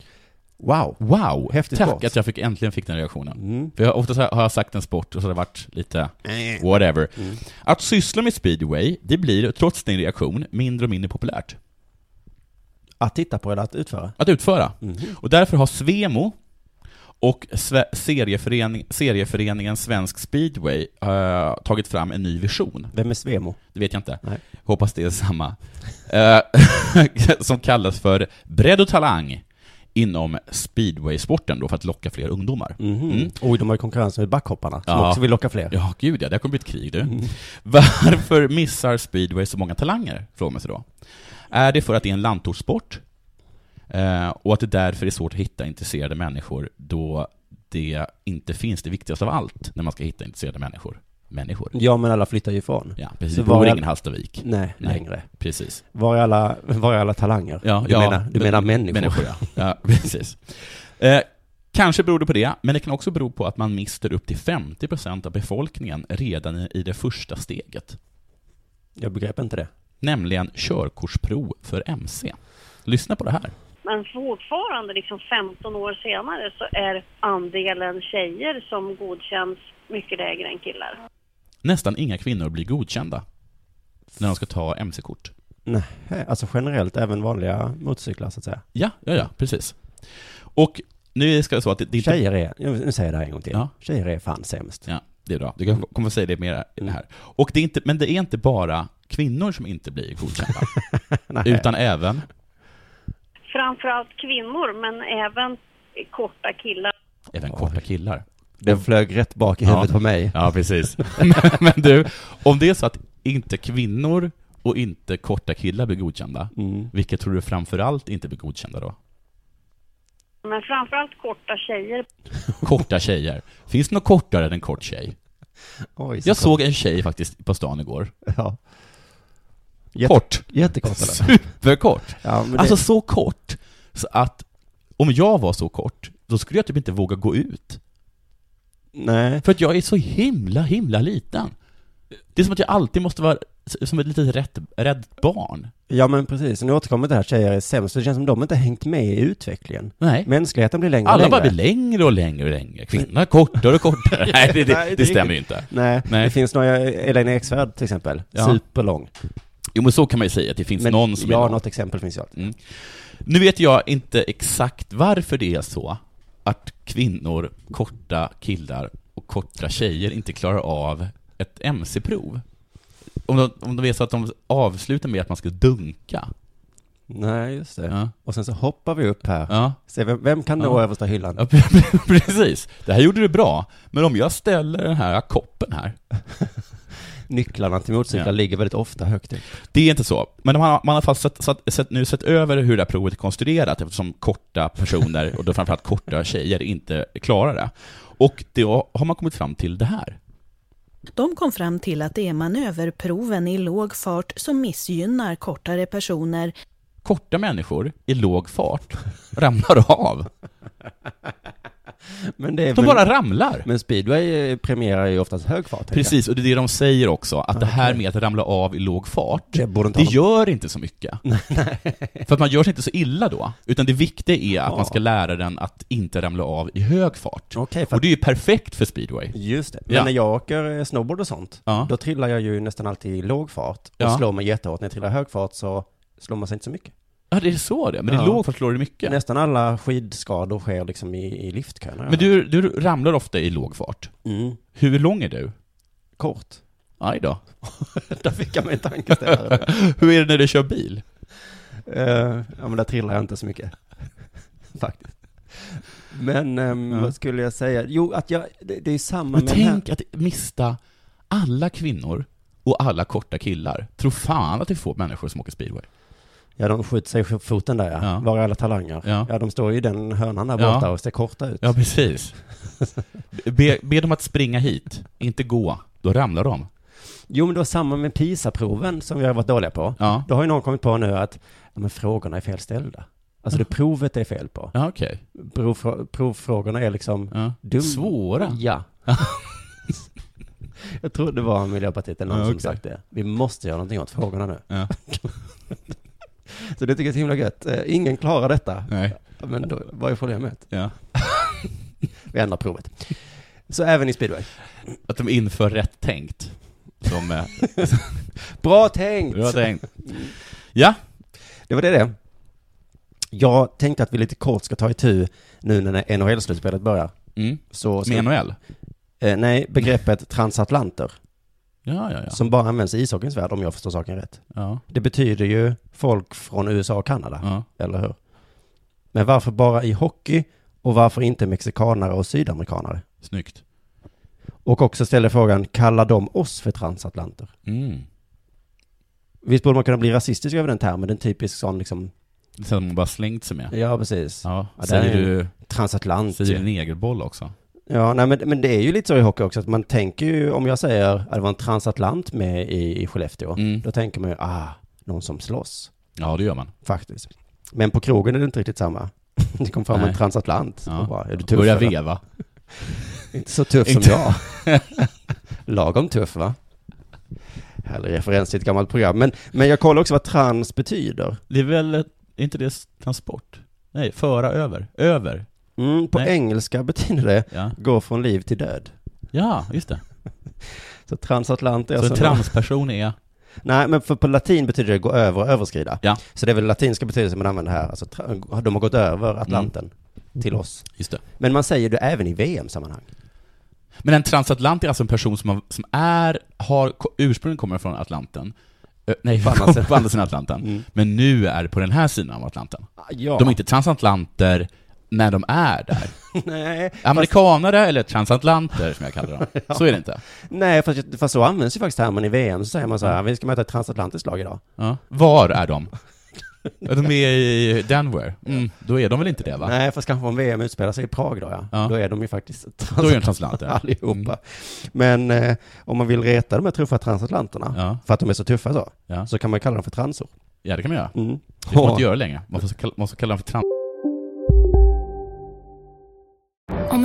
[SPEAKER 9] Wow.
[SPEAKER 10] Wow!
[SPEAKER 9] Häftig
[SPEAKER 10] Tack
[SPEAKER 9] sport.
[SPEAKER 10] att jag fick, äntligen fick den reaktionen.
[SPEAKER 9] Mm.
[SPEAKER 10] För jag, ofta så här- har jag sagt en sport och så har det varit lite whatever. Att syssla med speedway, det blir trots din reaktion mindre och mindre populärt
[SPEAKER 9] Att titta på eller att utföra?
[SPEAKER 10] att utföra. Och därför har Svemo och Sve- serieförening, serieföreningen Svensk Speedway eh, tagit fram en ny vision.
[SPEAKER 9] Vem är Svemo?
[SPEAKER 10] Det vet jag inte.
[SPEAKER 9] Nej.
[SPEAKER 10] Hoppas det är samma. Eh, som kallas för bredd och talang inom speedwaysporten då för att locka fler ungdomar. Mm.
[SPEAKER 9] Oj, de har ju konkurrens med backhopparna som
[SPEAKER 10] Ja.
[SPEAKER 9] också vill locka fler.
[SPEAKER 10] Ja, gud ja, det här kommer bli ett krig du.
[SPEAKER 9] Mm.
[SPEAKER 10] Varför missar speedway så många talanger? Frågar man sig då. Är det för att det är en landtortssport? Eh, och att det därför är svårt att hitta intresserade människor då det inte finns det viktigaste av allt när man ska hitta intresserade människor. Människor.
[SPEAKER 9] Ja, men alla flyttar ju ifrån.
[SPEAKER 10] Ja, precis.
[SPEAKER 9] Så
[SPEAKER 10] Det
[SPEAKER 9] var
[SPEAKER 10] bor
[SPEAKER 9] jag-
[SPEAKER 10] ingen Hallstavik.
[SPEAKER 9] Nej,
[SPEAKER 10] Nej.
[SPEAKER 9] längre.
[SPEAKER 10] Precis.
[SPEAKER 9] Var är alla, var är alla talanger?
[SPEAKER 10] Ja,
[SPEAKER 9] du
[SPEAKER 10] ja,
[SPEAKER 9] menar, du
[SPEAKER 10] men-
[SPEAKER 9] menar människor?
[SPEAKER 10] Människor, ja. ja precis. Eh, kanske beror det på det, men det kan också bero på att man mister upp till 50% av befolkningen redan i- i det första steget.
[SPEAKER 9] Jag begrep inte det.
[SPEAKER 10] Nämligen körkortsprov för MC. Lyssna på det här.
[SPEAKER 7] Men fortfarande, liksom 15 år senare, så är andelen tjejer som godkänns mycket lägre än killar.
[SPEAKER 10] Nästan inga kvinnor blir godkända när de ska ta MC-kort.
[SPEAKER 9] Nej, alltså generellt, även vanliga motorcyklar så att säga.
[SPEAKER 10] Ja, ja, ja, precis. Och nu ska jag så att det, det är inte
[SPEAKER 9] Tjejer är, jag- nu säger jag det här en gång till.
[SPEAKER 10] Ja.
[SPEAKER 9] Tjejer är fan sämst.
[SPEAKER 10] Ja, det är bra. Mm. Du kan- kommer få säga det mer i det här. Och det är inte, men det är inte bara kvinnor som inte blir godkända,
[SPEAKER 9] Nej.
[SPEAKER 10] utan även...
[SPEAKER 7] Framförallt kvinnor, men även korta killar.
[SPEAKER 10] Även korta killar.
[SPEAKER 9] Den flög rätt bak i
[SPEAKER 10] Ja.
[SPEAKER 9] huvudet på mig.
[SPEAKER 10] Ja, precis. men, men du, om det är så att inte kvinnor och inte korta killar blir godkända,
[SPEAKER 9] Mm.
[SPEAKER 10] vilka tror du framförallt inte blir godkända då?
[SPEAKER 7] Men framförallt korta tjejer.
[SPEAKER 10] Korta tjejer. Finns det något kortare än en kort tjej?
[SPEAKER 9] Oj,
[SPEAKER 10] Jag såg en tjej faktiskt på stan igår.
[SPEAKER 9] Ja. Jätte,
[SPEAKER 10] Kort.
[SPEAKER 9] Jättekort eller?
[SPEAKER 10] Superkort.
[SPEAKER 9] Ja, men det,
[SPEAKER 10] Alltså så kort, så att om jag var så kort, då skulle jag typ inte våga gå ut.
[SPEAKER 9] nej.
[SPEAKER 10] För att jag är så himla, himla liten. Det är som att jag alltid måste vara s- som ett litet rätt, rätt barn.
[SPEAKER 9] Ja men precis, nu återkommer det här tjejer är sämst, så det känns som de inte hängt med i utvecklingen.
[SPEAKER 10] Nej.
[SPEAKER 9] Mänskligheten blir längre och
[SPEAKER 10] Alla
[SPEAKER 9] längre.
[SPEAKER 10] bara blir längre och längre och längre. Kvinnorna är kortare och kortare. Nej,
[SPEAKER 9] Nej,
[SPEAKER 10] det,
[SPEAKER 9] det
[SPEAKER 10] det,
[SPEAKER 9] är
[SPEAKER 10] det stämmer ju inte.
[SPEAKER 9] Nej,
[SPEAKER 10] Nej.
[SPEAKER 9] det finns några, Elaine Eksvärd till exempel,
[SPEAKER 10] Ja.
[SPEAKER 9] superlång.
[SPEAKER 10] Jo, men så kan man ju säga att det finns
[SPEAKER 9] Men
[SPEAKER 10] någon som är
[SPEAKER 9] ja,
[SPEAKER 10] lång.
[SPEAKER 9] något exempel finns ju alltid.
[SPEAKER 10] Nu vet jag inte exakt varför det är så att kvinnor, korta killar och korta tjejer inte klarar av ett MC-prov. Om de, om de är så att de avslutar med att man ska dunka.
[SPEAKER 9] Nej, just det.
[SPEAKER 10] Ja.
[SPEAKER 9] Och sen så hoppar vi upp här.
[SPEAKER 10] Ja,
[SPEAKER 9] Se, vem, vem kan nå
[SPEAKER 10] Ja.
[SPEAKER 9] översta hyllan?
[SPEAKER 10] ja precis. Det här gjorde du bra. Men om jag ställer den här koppen här.
[SPEAKER 9] Nycklarna till motorcyklar
[SPEAKER 10] Ja.
[SPEAKER 9] ligger väldigt ofta högt upp.
[SPEAKER 10] Det är inte så. Men man har, man har i alla fall sett, satt, sett, nu sett över hur det här provet är konstruerat eftersom korta personer, och då framförallt korta tjejer, inte klarar det. Och då har man kommit fram till det här.
[SPEAKER 11] De kom fram till att det är manöverproven i låg fart som missgynnar kortare personer
[SPEAKER 10] korta människor i låg fart ramlar av.
[SPEAKER 9] Men det är
[SPEAKER 10] De
[SPEAKER 9] väl-
[SPEAKER 10] bara ramlar.
[SPEAKER 9] Men speedway eh, premierar ju oftast hög fart. tänker
[SPEAKER 10] Precis, och det är det de säger också, att det här med att ramla av i låg fart,
[SPEAKER 9] Det borde inte
[SPEAKER 10] det
[SPEAKER 9] ha-
[SPEAKER 10] gör inte så mycket. För att man gör sig inte så illa då, utan det viktiga är att
[SPEAKER 9] Ja.
[SPEAKER 10] man ska lära den att inte ramla av i hög fart.
[SPEAKER 9] Okej, för
[SPEAKER 10] och det är ju perfekt för speedway.
[SPEAKER 9] jag. Just det. Men
[SPEAKER 10] Ja.
[SPEAKER 9] när jag åker eh, snowboard och sånt,
[SPEAKER 10] Ja.
[SPEAKER 9] då trillar jag ju nästan alltid i låg fart och
[SPEAKER 10] Ja.
[SPEAKER 9] slår mig jättehårt. När jag trillar i hög fart så slår man sig inte så mycket.
[SPEAKER 10] Ja, det är så det Men i
[SPEAKER 9] Ja.
[SPEAKER 10] låg fart slår det mycket.
[SPEAKER 9] Nästan alla skidskador sker liksom i, i liftkön.
[SPEAKER 10] Men du, du ramlar ofta i låg fart.
[SPEAKER 9] Mm.
[SPEAKER 10] Hur lång är du?
[SPEAKER 9] Kort.
[SPEAKER 10] Aj då.
[SPEAKER 9] där fick jag mig en tankeställare.
[SPEAKER 10] Hur är det när du kör bil?
[SPEAKER 9] Eh, ja men där trillar jag inte så mycket. Faktiskt. Men ehm,
[SPEAKER 10] Ja.
[SPEAKER 9] vad skulle jag säga? Jo, att jag, det, det är ju samma
[SPEAKER 10] Men
[SPEAKER 9] med den här.
[SPEAKER 10] tänk att mista alla kvinnor och alla korta killar. Tro fan att det är få människor som åker speedway.
[SPEAKER 9] Ja, de skjuter sig i foten där ja.
[SPEAKER 10] Ja.
[SPEAKER 9] Var är alla talanger?
[SPEAKER 10] Ja.
[SPEAKER 9] de står ju i den hörnan där
[SPEAKER 10] Ja.
[SPEAKER 9] borta och ser korta ut.
[SPEAKER 10] Ja, precis. Be, be dem att springa hit, inte gå. Då ramlar de.
[SPEAKER 9] Jo, men det var samma med PISA-proven som vi har varit dåliga på.
[SPEAKER 10] Ja,
[SPEAKER 9] Då har ju någon kommit på nu att ja, men frågorna är felställda. Alltså det provet är fel på.
[SPEAKER 10] ja okej.
[SPEAKER 9] Provfrå- provfrågorna är liksom
[SPEAKER 10] Ja.
[SPEAKER 9] Dum.
[SPEAKER 10] Svåra.
[SPEAKER 9] Ja. Jag tror det var Miljöpartiet eller någon
[SPEAKER 10] Ja,
[SPEAKER 9] som
[SPEAKER 10] okej.
[SPEAKER 9] sagt det. Vi måste göra någonting åt frågorna nu.
[SPEAKER 10] Ja.
[SPEAKER 9] Så det tycker jag är så himla gött. Eh, Ingen klarar detta.
[SPEAKER 10] Nej.
[SPEAKER 9] Men då, vad är problemet?
[SPEAKER 10] Ja.
[SPEAKER 9] Vi ändrar provet. Så även i speedway.
[SPEAKER 10] Att de inför rätt tänkt. Som eh,
[SPEAKER 9] Bra tänkt!
[SPEAKER 10] du har tänkt. Ja,
[SPEAKER 9] Det var det det. Jag tänkte att vi lite kort ska ta itu nu när NHL-slutspelet börjar.
[SPEAKER 10] mm.
[SPEAKER 9] Så, så,
[SPEAKER 10] med NHL.
[SPEAKER 9] eh, nej, begreppet transatlanter,
[SPEAKER 10] Ja, ja, ja.
[SPEAKER 9] som bara används i ishockeyns värld om jag förstår saken rätt.
[SPEAKER 10] ja,
[SPEAKER 9] Det betyder ju folk från USA och Kanada.
[SPEAKER 10] ja.
[SPEAKER 9] eller hur? Men varför bara i hockey och varför inte mexikanare och sydamerikanare?
[SPEAKER 10] Snyggt.
[SPEAKER 9] Och också ställer frågan, kallar de oss för transatlanter?
[SPEAKER 10] Mm.
[SPEAKER 9] Visst borde man kunna bli rasistisk över den termen, den typisk sån liksom
[SPEAKER 10] Sen man bara slängt sig med.
[SPEAKER 9] Ja, precis.
[SPEAKER 10] Ja,
[SPEAKER 9] Ja, det
[SPEAKER 10] säger
[SPEAKER 9] är ju
[SPEAKER 10] du...
[SPEAKER 9] transatlant.
[SPEAKER 10] Säger du negerboll också?
[SPEAKER 9] Ja, nej, men, men det är ju lite så i hockey också att man tänker ju, om jag säger att det var en transatlant med i, i Skellefteå,
[SPEAKER 10] Mm.
[SPEAKER 9] då tänker man ju, ah, någon som slåss.
[SPEAKER 10] Ja, det gör man.
[SPEAKER 9] Faktiskt. Men på krogen är det inte riktigt samma. Det kom fram
[SPEAKER 10] Nej.
[SPEAKER 9] en transatlant.
[SPEAKER 10] Ja.
[SPEAKER 9] Och bara, är du tuff?
[SPEAKER 10] Börjar
[SPEAKER 9] eller?"
[SPEAKER 10] veva.
[SPEAKER 9] inte så tuff som
[SPEAKER 10] Inte.
[SPEAKER 9] jag. Lagom tuff, va? Härlig referens till ett gammalt program. Men, men jag kollar också vad trans betyder.
[SPEAKER 10] Det är väl, är inte det transport? Nej, föra över. Över.
[SPEAKER 9] Mm, på
[SPEAKER 10] Nej.
[SPEAKER 9] engelska betyder det
[SPEAKER 10] Ja.
[SPEAKER 9] gå från liv till död.
[SPEAKER 10] Ja, just det.
[SPEAKER 9] Så transatlant är
[SPEAKER 10] Så en
[SPEAKER 9] alltså-
[SPEAKER 10] transperson är...
[SPEAKER 9] Nej, men för på latin betyder det gå över och överskrida.
[SPEAKER 10] Ja.
[SPEAKER 9] Så det är väl latinska betydelsen man använder här. Alltså, tra- de har gått över Atlanten
[SPEAKER 10] Mm.
[SPEAKER 9] till oss.
[SPEAKER 10] Just det.
[SPEAKER 9] Men man säger det även i VM-sammanhang.
[SPEAKER 10] Men en transatlant är alltså en person som, har, som är, har, ko- ursprungligen kommer från Atlanten. Ö, nej,
[SPEAKER 9] På
[SPEAKER 10] på
[SPEAKER 9] andra
[SPEAKER 10] andra,
[SPEAKER 9] sidan.
[SPEAKER 10] sidan Atlanten.
[SPEAKER 9] Mm.
[SPEAKER 10] Men nu är på den här sidan av Atlanten.
[SPEAKER 9] Ja.
[SPEAKER 10] Ah, De är inte transatlanter när de är där.
[SPEAKER 9] Nej,
[SPEAKER 10] Amerikanare, eller transatlanter som jag kallar dem. Så är det inte.
[SPEAKER 9] Nej fast, fast så används ju faktiskt termen i VM. Så säger man så här, vi ska möta ett transatlantiskt lag idag.
[SPEAKER 10] Ja. Var är de? Ja, De är i Denver. Mm, då är de väl inte det, va?
[SPEAKER 9] Nej, fast kanske om VM utspelar sig i Prag då, ja.
[SPEAKER 10] Ja.
[SPEAKER 9] Då är de ju faktiskt
[SPEAKER 10] Då är de transatlanter.
[SPEAKER 9] allihopa. Men eh, om man vill reta de här tuffa transatlanterna,
[SPEAKER 10] Ja.
[SPEAKER 9] för att de är så tuffa så,
[SPEAKER 10] Ja.
[SPEAKER 9] så kan man kalla dem för transor.
[SPEAKER 10] Ja, det kan man göra.
[SPEAKER 9] Mm.
[SPEAKER 10] Det får man inte göra längre. Man får kalla, man får kalla dem för trans...
[SPEAKER 12] Om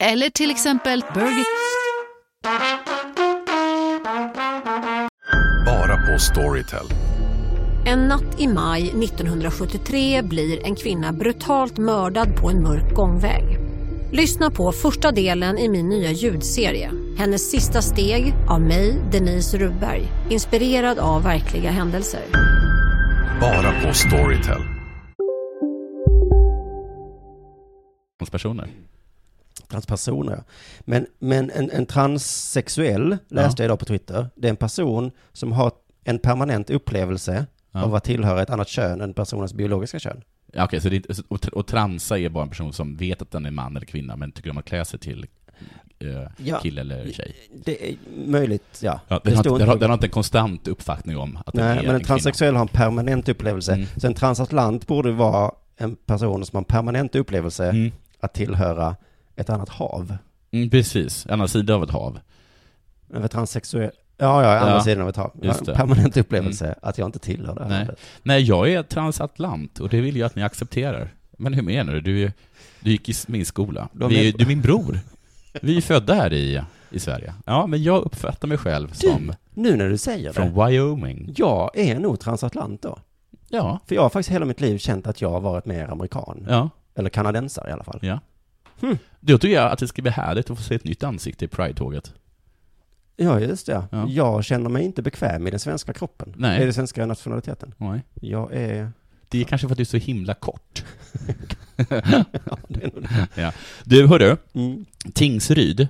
[SPEAKER 13] Eller till exempel Burger...
[SPEAKER 14] Bara på Storytel.
[SPEAKER 15] En natt i maj 1973 blir en kvinna brutalt mördad på en mörk gångväg. Lyssna på första delen i min nya ljudserie. Hennes sista steg av mig, Denise Rubberg. Inspirerad av verkliga händelser.
[SPEAKER 14] Bara på Storytel.
[SPEAKER 10] transpersoner.
[SPEAKER 9] Transpersoner, ja. Men, men en, en transsexuell, läste jag idag på Twitter, det är en person som har en permanent upplevelse
[SPEAKER 10] Ja.
[SPEAKER 9] av att tillhöra ett annat kön än personens biologiska kön.
[SPEAKER 10] Ja, okej, så det är inte, och, tr- och transa är bara en person som vet att den är man eller kvinna, men tycker om att klä sig till eh,
[SPEAKER 9] Ja.
[SPEAKER 10] kille eller tjej.
[SPEAKER 9] Det är möjligt, ja.
[SPEAKER 10] Ja,
[SPEAKER 9] Det
[SPEAKER 10] den, har,
[SPEAKER 9] står inte-
[SPEAKER 10] inte- den, har, den har inte en konstant uppfattning om att
[SPEAKER 9] Nej,
[SPEAKER 10] den är
[SPEAKER 9] men en
[SPEAKER 10] en kvinna.
[SPEAKER 9] transsexuell har en permanent upplevelse.
[SPEAKER 10] Mm.
[SPEAKER 9] Så en transatlant borde vara en person som har en permanent upplevelse att tillhöra ett annat hav.
[SPEAKER 10] Mm, precis, andra sidan av ett hav.
[SPEAKER 9] Men för transsexuell, ja, ja, andra
[SPEAKER 10] Ja,
[SPEAKER 9] sidan av ett hav. Jag har
[SPEAKER 10] just
[SPEAKER 9] en
[SPEAKER 10] det. Mm.
[SPEAKER 9] permanent upplevelse att jag inte tillhör det här
[SPEAKER 10] Nej.
[SPEAKER 9] havet.
[SPEAKER 10] Nej, jag är transatlant och det vill jag att ni accepterar. Men hur menar du? Du, är- du gick i s- min skola.
[SPEAKER 9] De
[SPEAKER 10] Vi,
[SPEAKER 9] är-
[SPEAKER 10] är... Du är min bror. Vi är födda här i, i Sverige. Ja, men jag uppfattar mig själv som...
[SPEAKER 9] Nu när du säger
[SPEAKER 10] Från
[SPEAKER 9] det.
[SPEAKER 10] Wyoming.
[SPEAKER 9] Jag är nog transatlant då.
[SPEAKER 10] Ja.
[SPEAKER 9] För jag har faktiskt hela mitt liv känt att jag har varit mer amerikan.
[SPEAKER 10] Ja.
[SPEAKER 9] Eller kanadensare i alla fall.
[SPEAKER 10] Ja. Då tycker jag att det ska bli härligt att få se ett nytt ansikte i Pride-tåget.
[SPEAKER 9] Ja, just det.
[SPEAKER 10] Ja.
[SPEAKER 9] Jag känner mig inte bekväm i den svenska kroppen.
[SPEAKER 10] Nej.
[SPEAKER 9] I den svenska nationaliteten.
[SPEAKER 10] Nej.
[SPEAKER 9] Jag är...
[SPEAKER 10] Det är kanske för att du är så himla kort.
[SPEAKER 9] Ja, det är nog det.
[SPEAKER 10] ja. Du, hörru.
[SPEAKER 9] Mm.
[SPEAKER 10] Tingsryd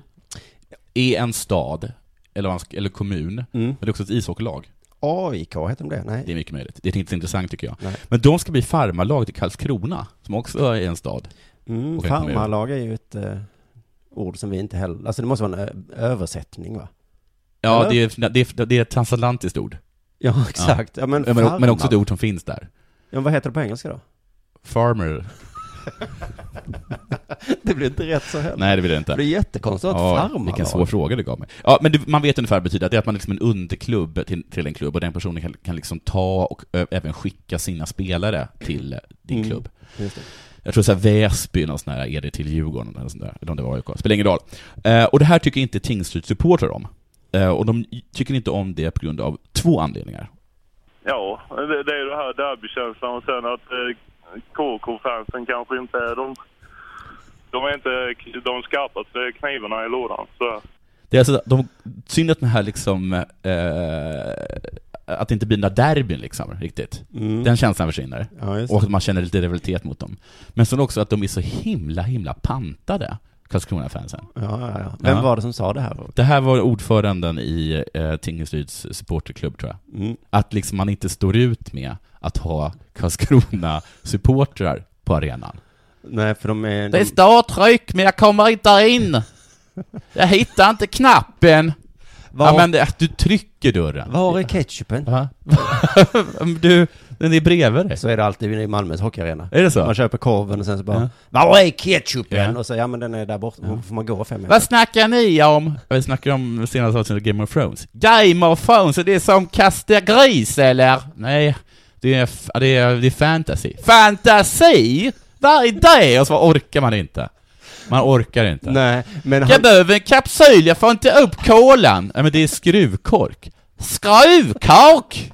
[SPEAKER 10] är en stad, eller, vad man ska- eller kommun, men det är också ett ishockeylag.
[SPEAKER 9] AIK, heter de det? Nej.
[SPEAKER 10] Det är mycket möjligt. Det är inte så intressant tycker jag.
[SPEAKER 9] Nej.
[SPEAKER 10] Men de ska bli farmarlag till Karlskrona, som också är en stad.
[SPEAKER 9] Mm,
[SPEAKER 10] Och en kommun.
[SPEAKER 9] farmarlag är ju ett eh, ord som vi inte heller... Alltså det måste vara en ö- översättning va?
[SPEAKER 10] Ja,
[SPEAKER 9] Eller?
[SPEAKER 10] det är, det, är, det är ett transatlantiskt ord.
[SPEAKER 9] Ja, exakt. Ja, men
[SPEAKER 10] men, men också
[SPEAKER 9] farmar.
[SPEAKER 10] det ord som finns där.
[SPEAKER 9] Ja, vad heter det på engelska då?
[SPEAKER 10] Farmer.
[SPEAKER 9] det blir inte rätt så heller.
[SPEAKER 10] Nej, det blir det inte.
[SPEAKER 9] Det blir jättekonstigt att farmarlag.
[SPEAKER 10] Vilken svår fråga det gav mig. Ja, men det, man vet ungefär betyder att det är att man liksom är en underklubb till, till en klubb och den personen kan, kan liksom ta och ö, även skicka sina spelare till eh, din
[SPEAKER 9] Mm,
[SPEAKER 10] klubb.
[SPEAKER 9] just det.
[SPEAKER 10] Jag tror så här Väsby, någon sån här, är det till Djurgården eller sånt där, eller om det var AIK, spelar ingen roll. Eh, och det här tycker inte Tingsryd-supportrar om. Eh, och de tycker inte om det på grund av två anledningar.
[SPEAKER 16] Ja, det, det är ju det här derbykänslan och sen att eh, KK-fansen kanske inte är de... De är inte de skarpaste knivarna i lådan. Så.
[SPEAKER 10] Det är alltså, de, synd att den här liksom, eh, att det inte blir några derbyn liksom, riktigt. Den känslan försvinner. och att man känner lite rivalitet mot dem. Men sen också att de är så himla, himla pantade, Karlskrona-fansen.
[SPEAKER 9] Ja, ja, ja. Vem var det som sa det här?
[SPEAKER 10] Det här var ordföranden i eh, Tingsryds supporterklubb tror jag. Att liksom man inte står ut med att ha Karlskrona-supportrar på arenan.
[SPEAKER 9] Nej, för de är...
[SPEAKER 10] Det
[SPEAKER 9] De,
[SPEAKER 10] står tryck men jag kommer inte in! Jag hittar inte knappen!
[SPEAKER 9] Var-
[SPEAKER 10] Ja men det- du trycker dörren.
[SPEAKER 9] var är ketchupen?
[SPEAKER 10] du, den är bredvid dig.
[SPEAKER 9] Så är det alltid i Malmös hockeyarena.
[SPEAKER 10] Är det så?
[SPEAKER 9] Man köper korven och sen så bara...
[SPEAKER 10] Ja.
[SPEAKER 9] Var är ketchupen?
[SPEAKER 10] Ja.
[SPEAKER 9] Och så, ja men den är där borta. Då får man gå fem meter.
[SPEAKER 10] Vad snackar ni om? Vi snackar om senaste avsnittet av Game of Thrones. Game of Thrones, är det som kasta gris eller? Nej, det är, f- det är, det är fantasy. Fantasi? Vad är det? Och så orkar man inte. Man orkar inte.
[SPEAKER 9] Nej, men
[SPEAKER 10] Jag
[SPEAKER 9] han-
[SPEAKER 10] behöver en kapsyl, jag får inte upp kolan! Nej men det är skruvkork. Skruvkork!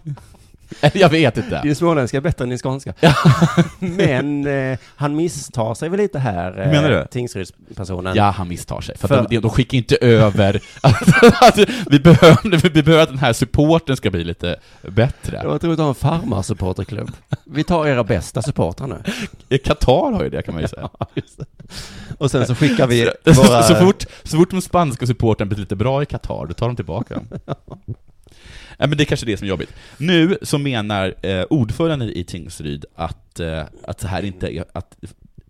[SPEAKER 10] Eller jag vet inte.
[SPEAKER 9] Din småländska är bättre än din skånska. Men eh, han misstar sig väl lite här, eh,
[SPEAKER 10] Menar du?
[SPEAKER 9] Tingsrydspersonen.
[SPEAKER 10] Ja, han misstar sig. För,
[SPEAKER 9] För-
[SPEAKER 10] Att de, de skickar inte över... alltså, vi, behöver, vi behöver att den här supporten ska bli lite bättre.
[SPEAKER 9] Jag tror att du har en farmarsupporterklubb. Vi tar era bästa supportrar nu.
[SPEAKER 10] Qatar har ju det kan man ju säga.
[SPEAKER 9] Och sen så skickar vi
[SPEAKER 10] så,
[SPEAKER 9] våra...
[SPEAKER 10] så, fort, så fort de spanska supporten blir lite bra i Qatar, då tar de tillbaka dem. Nej, men det är kanske det som är jobbigt. Nu så menar eh, ordföranden i Tingsryd att, eh, att, så här inte, är- att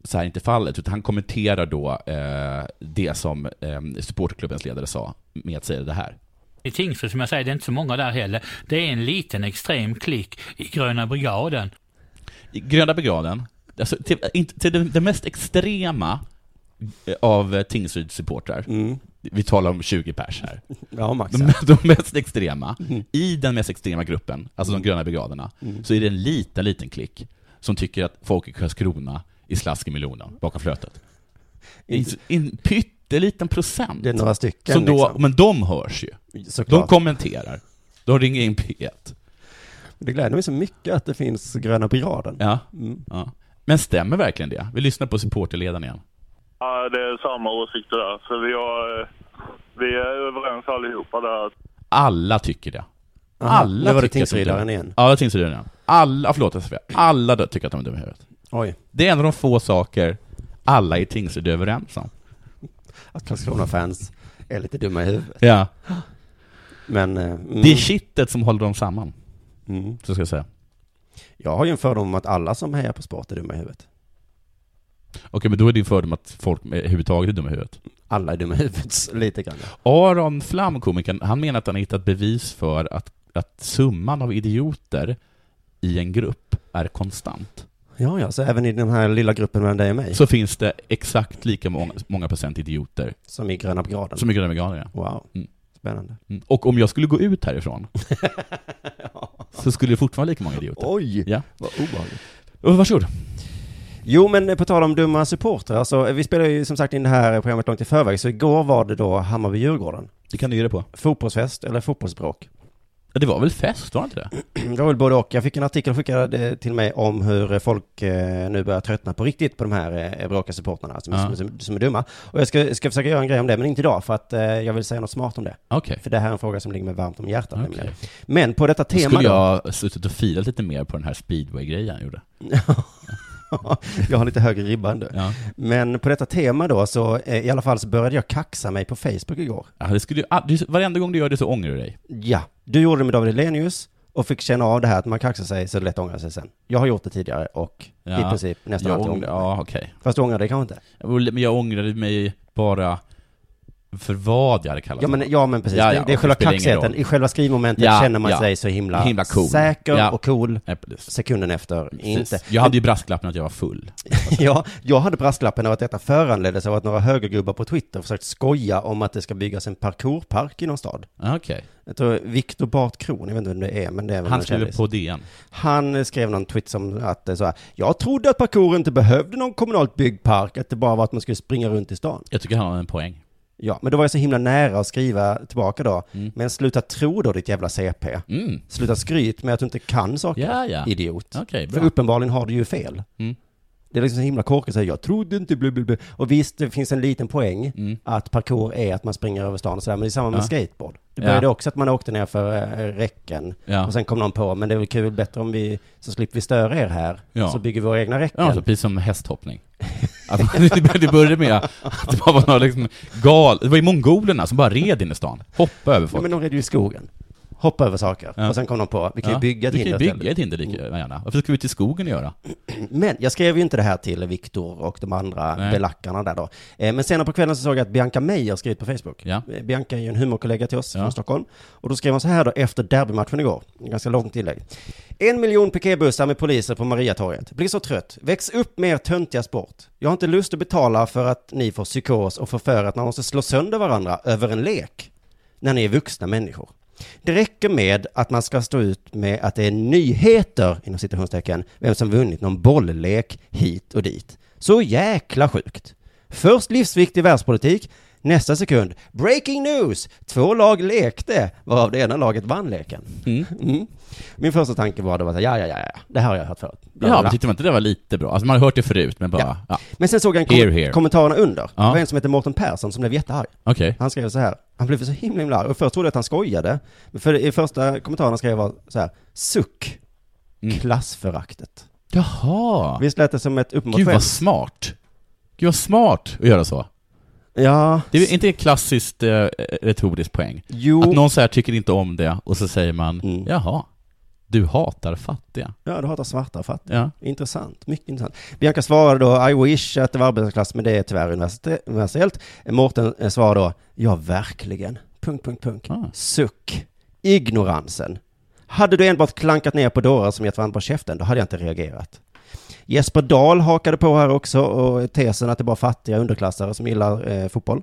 [SPEAKER 10] så här inte är fallet, utan han kommenterar då eh, det som eh, supportklubbens ledare sa med att säga det här.
[SPEAKER 17] I Tingsryd, som jag säger, det är inte så många där heller. Det är en liten extrem klick i Gröna Brigaden.
[SPEAKER 10] I Gröna brigaden, alltså till, inte, till den, den mest extrema eh, av eh, Tingsryds supportrar, vi talar om 20 pers här.
[SPEAKER 9] Ja, max.
[SPEAKER 10] De, de mest extrema, i den mest extrema gruppen, alltså de gröna brigaderna,
[SPEAKER 9] Mm.
[SPEAKER 10] så är det en liten, liten klick som tycker att folk i Karlskrona är slask i melonen bakom flötet. En, en pytteliten procent.
[SPEAKER 9] Det är några stycken,
[SPEAKER 10] Som då,
[SPEAKER 9] liksom.
[SPEAKER 10] Men de hörs ju.
[SPEAKER 9] Såklart.
[SPEAKER 10] De kommenterar. De ringer in P1.
[SPEAKER 9] Det gläder mig så mycket att det finns gröna brigaden.
[SPEAKER 10] Ja.
[SPEAKER 9] Mm.
[SPEAKER 10] ja. Men stämmer verkligen det? Vi lyssnar på supporterledaren igen.
[SPEAKER 16] Ja, det är samma åsikter där. Så vi, har, eh, vi är överens allihopa där.
[SPEAKER 10] Alla tycker det.
[SPEAKER 9] Aha,
[SPEAKER 10] Alla
[SPEAKER 9] nu var det
[SPEAKER 10] tycker att de är
[SPEAKER 9] tingsrättaren
[SPEAKER 10] dumma.
[SPEAKER 9] igen.
[SPEAKER 10] Ja, det var tingsrättaren igen. Alla, förlåt jag sa fel. Alla dö- tycker att de är dumma i huvudet.
[SPEAKER 9] Oj.
[SPEAKER 10] Det är en av de få saker alla i tingsrätt är överens om.
[SPEAKER 9] Att Karlskrona-fans är lite dumma i huvudet.
[SPEAKER 10] Ja.
[SPEAKER 9] Men... eh, mm.
[SPEAKER 10] Det är kittet som håller dem samman. Så ska jag säga.
[SPEAKER 9] Jag har ju en fördom om att alla som hejar på sport är dumma i huvudet.
[SPEAKER 10] Okej, men då är din fördom att folk med- överhuvudtaget är dumma i huvudet.
[SPEAKER 9] Alla är dumma i huvudet, lite grann.
[SPEAKER 10] Aron Flam, komikern, han menar att han har hittat bevis för att, att summan av idioter i en grupp är konstant.
[SPEAKER 9] Ja, ja, så även i den här lilla gruppen mellan dig och mig.
[SPEAKER 10] Så finns det exakt lika många, många procent idioter
[SPEAKER 9] Som i gröna brigaden.
[SPEAKER 10] som är gröna veganer. ja.
[SPEAKER 9] Wow.
[SPEAKER 10] Mm.
[SPEAKER 9] Spännande.
[SPEAKER 10] Mm. Och om jag skulle gå ut härifrån så skulle det fortfarande vara lika många idioter.
[SPEAKER 9] Oj!
[SPEAKER 10] Ja.
[SPEAKER 9] Vad obehagligt.
[SPEAKER 10] Och varsågod.
[SPEAKER 9] Jo, men eh, på tal om dumma supportrar, så eh, vi spelar ju som sagt in det här programmet långt i förväg, så igår var det då Hammarby-Djurgården.
[SPEAKER 10] Det kan du ge dig på.
[SPEAKER 9] Fotbollsfest, eller fotbollsbråk.
[SPEAKER 10] Ja, Det var väl fest, var det inte det?
[SPEAKER 9] Det var väl både och. Jag fick en artikel skickad eh, till mig om hur eh, folk eh, nu börjar tröttna på riktigt på de här eh, bråkiga supportrarna som,
[SPEAKER 10] Ja.
[SPEAKER 9] som, som, som är dumma. Och jag ska, ska försöka göra en grej om det, men inte idag, för att eh, jag vill säga något smart om det.
[SPEAKER 10] Okej.
[SPEAKER 9] För det här är en fråga som ligger mig varmt om hjärtat.
[SPEAKER 10] Okej.
[SPEAKER 9] nämligen. Men på detta
[SPEAKER 10] Då
[SPEAKER 9] tema
[SPEAKER 10] skulle
[SPEAKER 9] då-
[SPEAKER 10] jag suttit och filat lite mer på den här speedway-grejen jag gjorde.
[SPEAKER 9] jag har lite högre ribba än du.
[SPEAKER 10] Ja.
[SPEAKER 9] Men på detta tema då, så eh, i alla fall så började jag kaxa mig på Facebook igår.
[SPEAKER 10] Ja, det skulle ju, ah, det, varenda gång du gör det så ångrar du dig.
[SPEAKER 9] Ja, du gjorde det med David Hellenius och fick känna av det här att man kaxar sig så är det lätt att ångra sig sen. Jag har gjort det tidigare och
[SPEAKER 10] Ja.
[SPEAKER 9] i princip nästan
[SPEAKER 10] jag
[SPEAKER 9] alltid
[SPEAKER 10] ångrar,
[SPEAKER 9] ångrar
[SPEAKER 10] Ja, okej.
[SPEAKER 9] Fast du ångrar dig kanske inte?
[SPEAKER 10] Men jag ångrade mig bara för vad jag hade kallat
[SPEAKER 9] Ja men,
[SPEAKER 10] honom.
[SPEAKER 9] ja, men precis, det, det är
[SPEAKER 10] okej,
[SPEAKER 9] själva
[SPEAKER 10] spelar ingen
[SPEAKER 9] kaxigheten.
[SPEAKER 10] roll.
[SPEAKER 9] I själva skrivmomentet
[SPEAKER 10] Ja,
[SPEAKER 9] känner man
[SPEAKER 10] ja.
[SPEAKER 9] sig så himla,
[SPEAKER 10] Himla cool.
[SPEAKER 9] säker
[SPEAKER 10] Ja.
[SPEAKER 9] och cool.
[SPEAKER 10] Ja, precis.
[SPEAKER 9] Sekunden efter, inte.
[SPEAKER 10] Jag hade ju brasklappen att jag var full.
[SPEAKER 9] ja, jag hade brasklappen av att detta föranleddes av att några högergubbar på Twitter försökt skoja om att det ska byggas en parkourpark i någon stad.
[SPEAKER 10] Ja, Okej.
[SPEAKER 9] Jag tror Viktor Bart Kron, jag vet inte vem det är, men det är väl
[SPEAKER 10] Han
[SPEAKER 9] någon
[SPEAKER 10] skriver
[SPEAKER 9] kändis.
[SPEAKER 10] på DN.
[SPEAKER 9] Han eh, skrev någon tweet som att det är så här, jag trodde att parkour inte behövde någon kommunalt byggd park, att det bara var att man skulle springa runt i stan.
[SPEAKER 10] Jag tycker han har en poäng.
[SPEAKER 9] Ja, men då var jag så himla nära att skriva tillbaka då,
[SPEAKER 10] Mm.
[SPEAKER 9] men sluta tro då ditt jävla CP.
[SPEAKER 10] Mm.
[SPEAKER 9] Sluta skryt med att du inte kan saker,
[SPEAKER 10] Ja, ja.
[SPEAKER 9] idiot.
[SPEAKER 10] Okej,
[SPEAKER 9] För
[SPEAKER 10] bra.
[SPEAKER 9] uppenbarligen har du ju fel.
[SPEAKER 10] Mm.
[SPEAKER 9] Det är liksom så himla korkat, så här, jag trodde inte blu, blu, blu. Och visst, det finns en liten poäng att parkour är att man springer över stan och sådär, men det är samma med
[SPEAKER 10] Mm. Ja.
[SPEAKER 9] skateboard. Det
[SPEAKER 10] Ja.
[SPEAKER 9] började också att man åkte ner för eh, räcken
[SPEAKER 10] Ja.
[SPEAKER 9] och sen kom någon på, men det är väl kul, bättre om vi, så slipper vi störa er här,
[SPEAKER 10] Ja.
[SPEAKER 9] så bygger vi våra egna räcken.
[SPEAKER 10] Ja, så precis som hästhoppning. Att man- det började med att det bara var några liksom gal... Det var ju mongolerna som bara red in i stan. Hoppa över
[SPEAKER 9] Nej,
[SPEAKER 10] folk.
[SPEAKER 9] men de red ju i skogen. Hoppa över saker.
[SPEAKER 10] Ja.
[SPEAKER 9] Och sen kom de på, vi kan
[SPEAKER 10] Ja,
[SPEAKER 9] ju bygga ett
[SPEAKER 10] vi kan ju
[SPEAKER 9] hinder
[SPEAKER 10] bygga ett hinder lika gärna. Varför ska vi ut i skogen och göra?
[SPEAKER 9] Men jag skrev ju inte det här till Viktor och de andra
[SPEAKER 10] Nej.
[SPEAKER 9] belackarna där då. Eh, Men senare på kvällen så såg jag att Bianca Meijer skrivit på Facebook. Eh, Bianca är ju en humorkollega till oss från Stockholm. Och då skrev hon så här då efter derbymatchen igår. En ganska långt tillägg. En miljon piketbussar med poliser på Mariatorget. Blir så trött. Väx upp med er töntiga sport. Jag har inte lust att betala för att ni får psykos och förför att man måste slå sönder varandra över en lek. När ni är vuxna människor. Det räcker med att man ska stå ut med att det är nyheter, inom citationstecken, vem som vunnit någon bolllek hit och dit. Så jäkla sjukt. Först livsviktig världspolitik, nästa sekund, breaking news! Två lag lekte, varav det ena laget vann leken. Mm. Min första tanke var då att, ja, ja, ja, ja, det här har jag hört förut.
[SPEAKER 10] Ja, men tyckte man inte det var lite bra? Alltså man har hört det förut, men bara... Ja.
[SPEAKER 9] Men sen såg jag en kom
[SPEAKER 10] Here, here.
[SPEAKER 9] kommentarerna under.
[SPEAKER 10] Ja.
[SPEAKER 9] Det var en som hette Mårten Persson som blev jättearg.
[SPEAKER 10] Okej.
[SPEAKER 9] Han skrev så här, han blev så himla himla arg. Och först trodde jag att han skojade. Men för i första kommentaren han skrev var så här, suck,
[SPEAKER 10] Mm.
[SPEAKER 9] klassföraktet.
[SPEAKER 10] Jaha.
[SPEAKER 9] Visst lät det som ett uppenbart
[SPEAKER 10] Gud vad
[SPEAKER 9] skämt?
[SPEAKER 10] smart. Gud vad smart att göra så.
[SPEAKER 9] Ja.
[SPEAKER 10] Det är inte ett klassiskt eh, retoriskt poäng.
[SPEAKER 9] Jo. Mm.
[SPEAKER 10] Att någon så här tycker inte om det och så säger man jaha, du hatar fattiga.
[SPEAKER 9] Ja, du hatar svarta och fattiga.
[SPEAKER 10] Ja.
[SPEAKER 9] Intressant, mycket intressant. Bianca svarade då, I wish att det var arbetarklass, men det är tyvärr universite- universellt. Mårten eh, svarade då, ja verkligen. Punkt, punkt, punkt. Suck. Ignoransen. Hade du enbart klankat ner på dårar som gett varandra på käften, då hade jag inte reagerat. Jesper Dahl hakade på här också och tesen att det är bara fattiga underklassare som gillar eh, fotboll.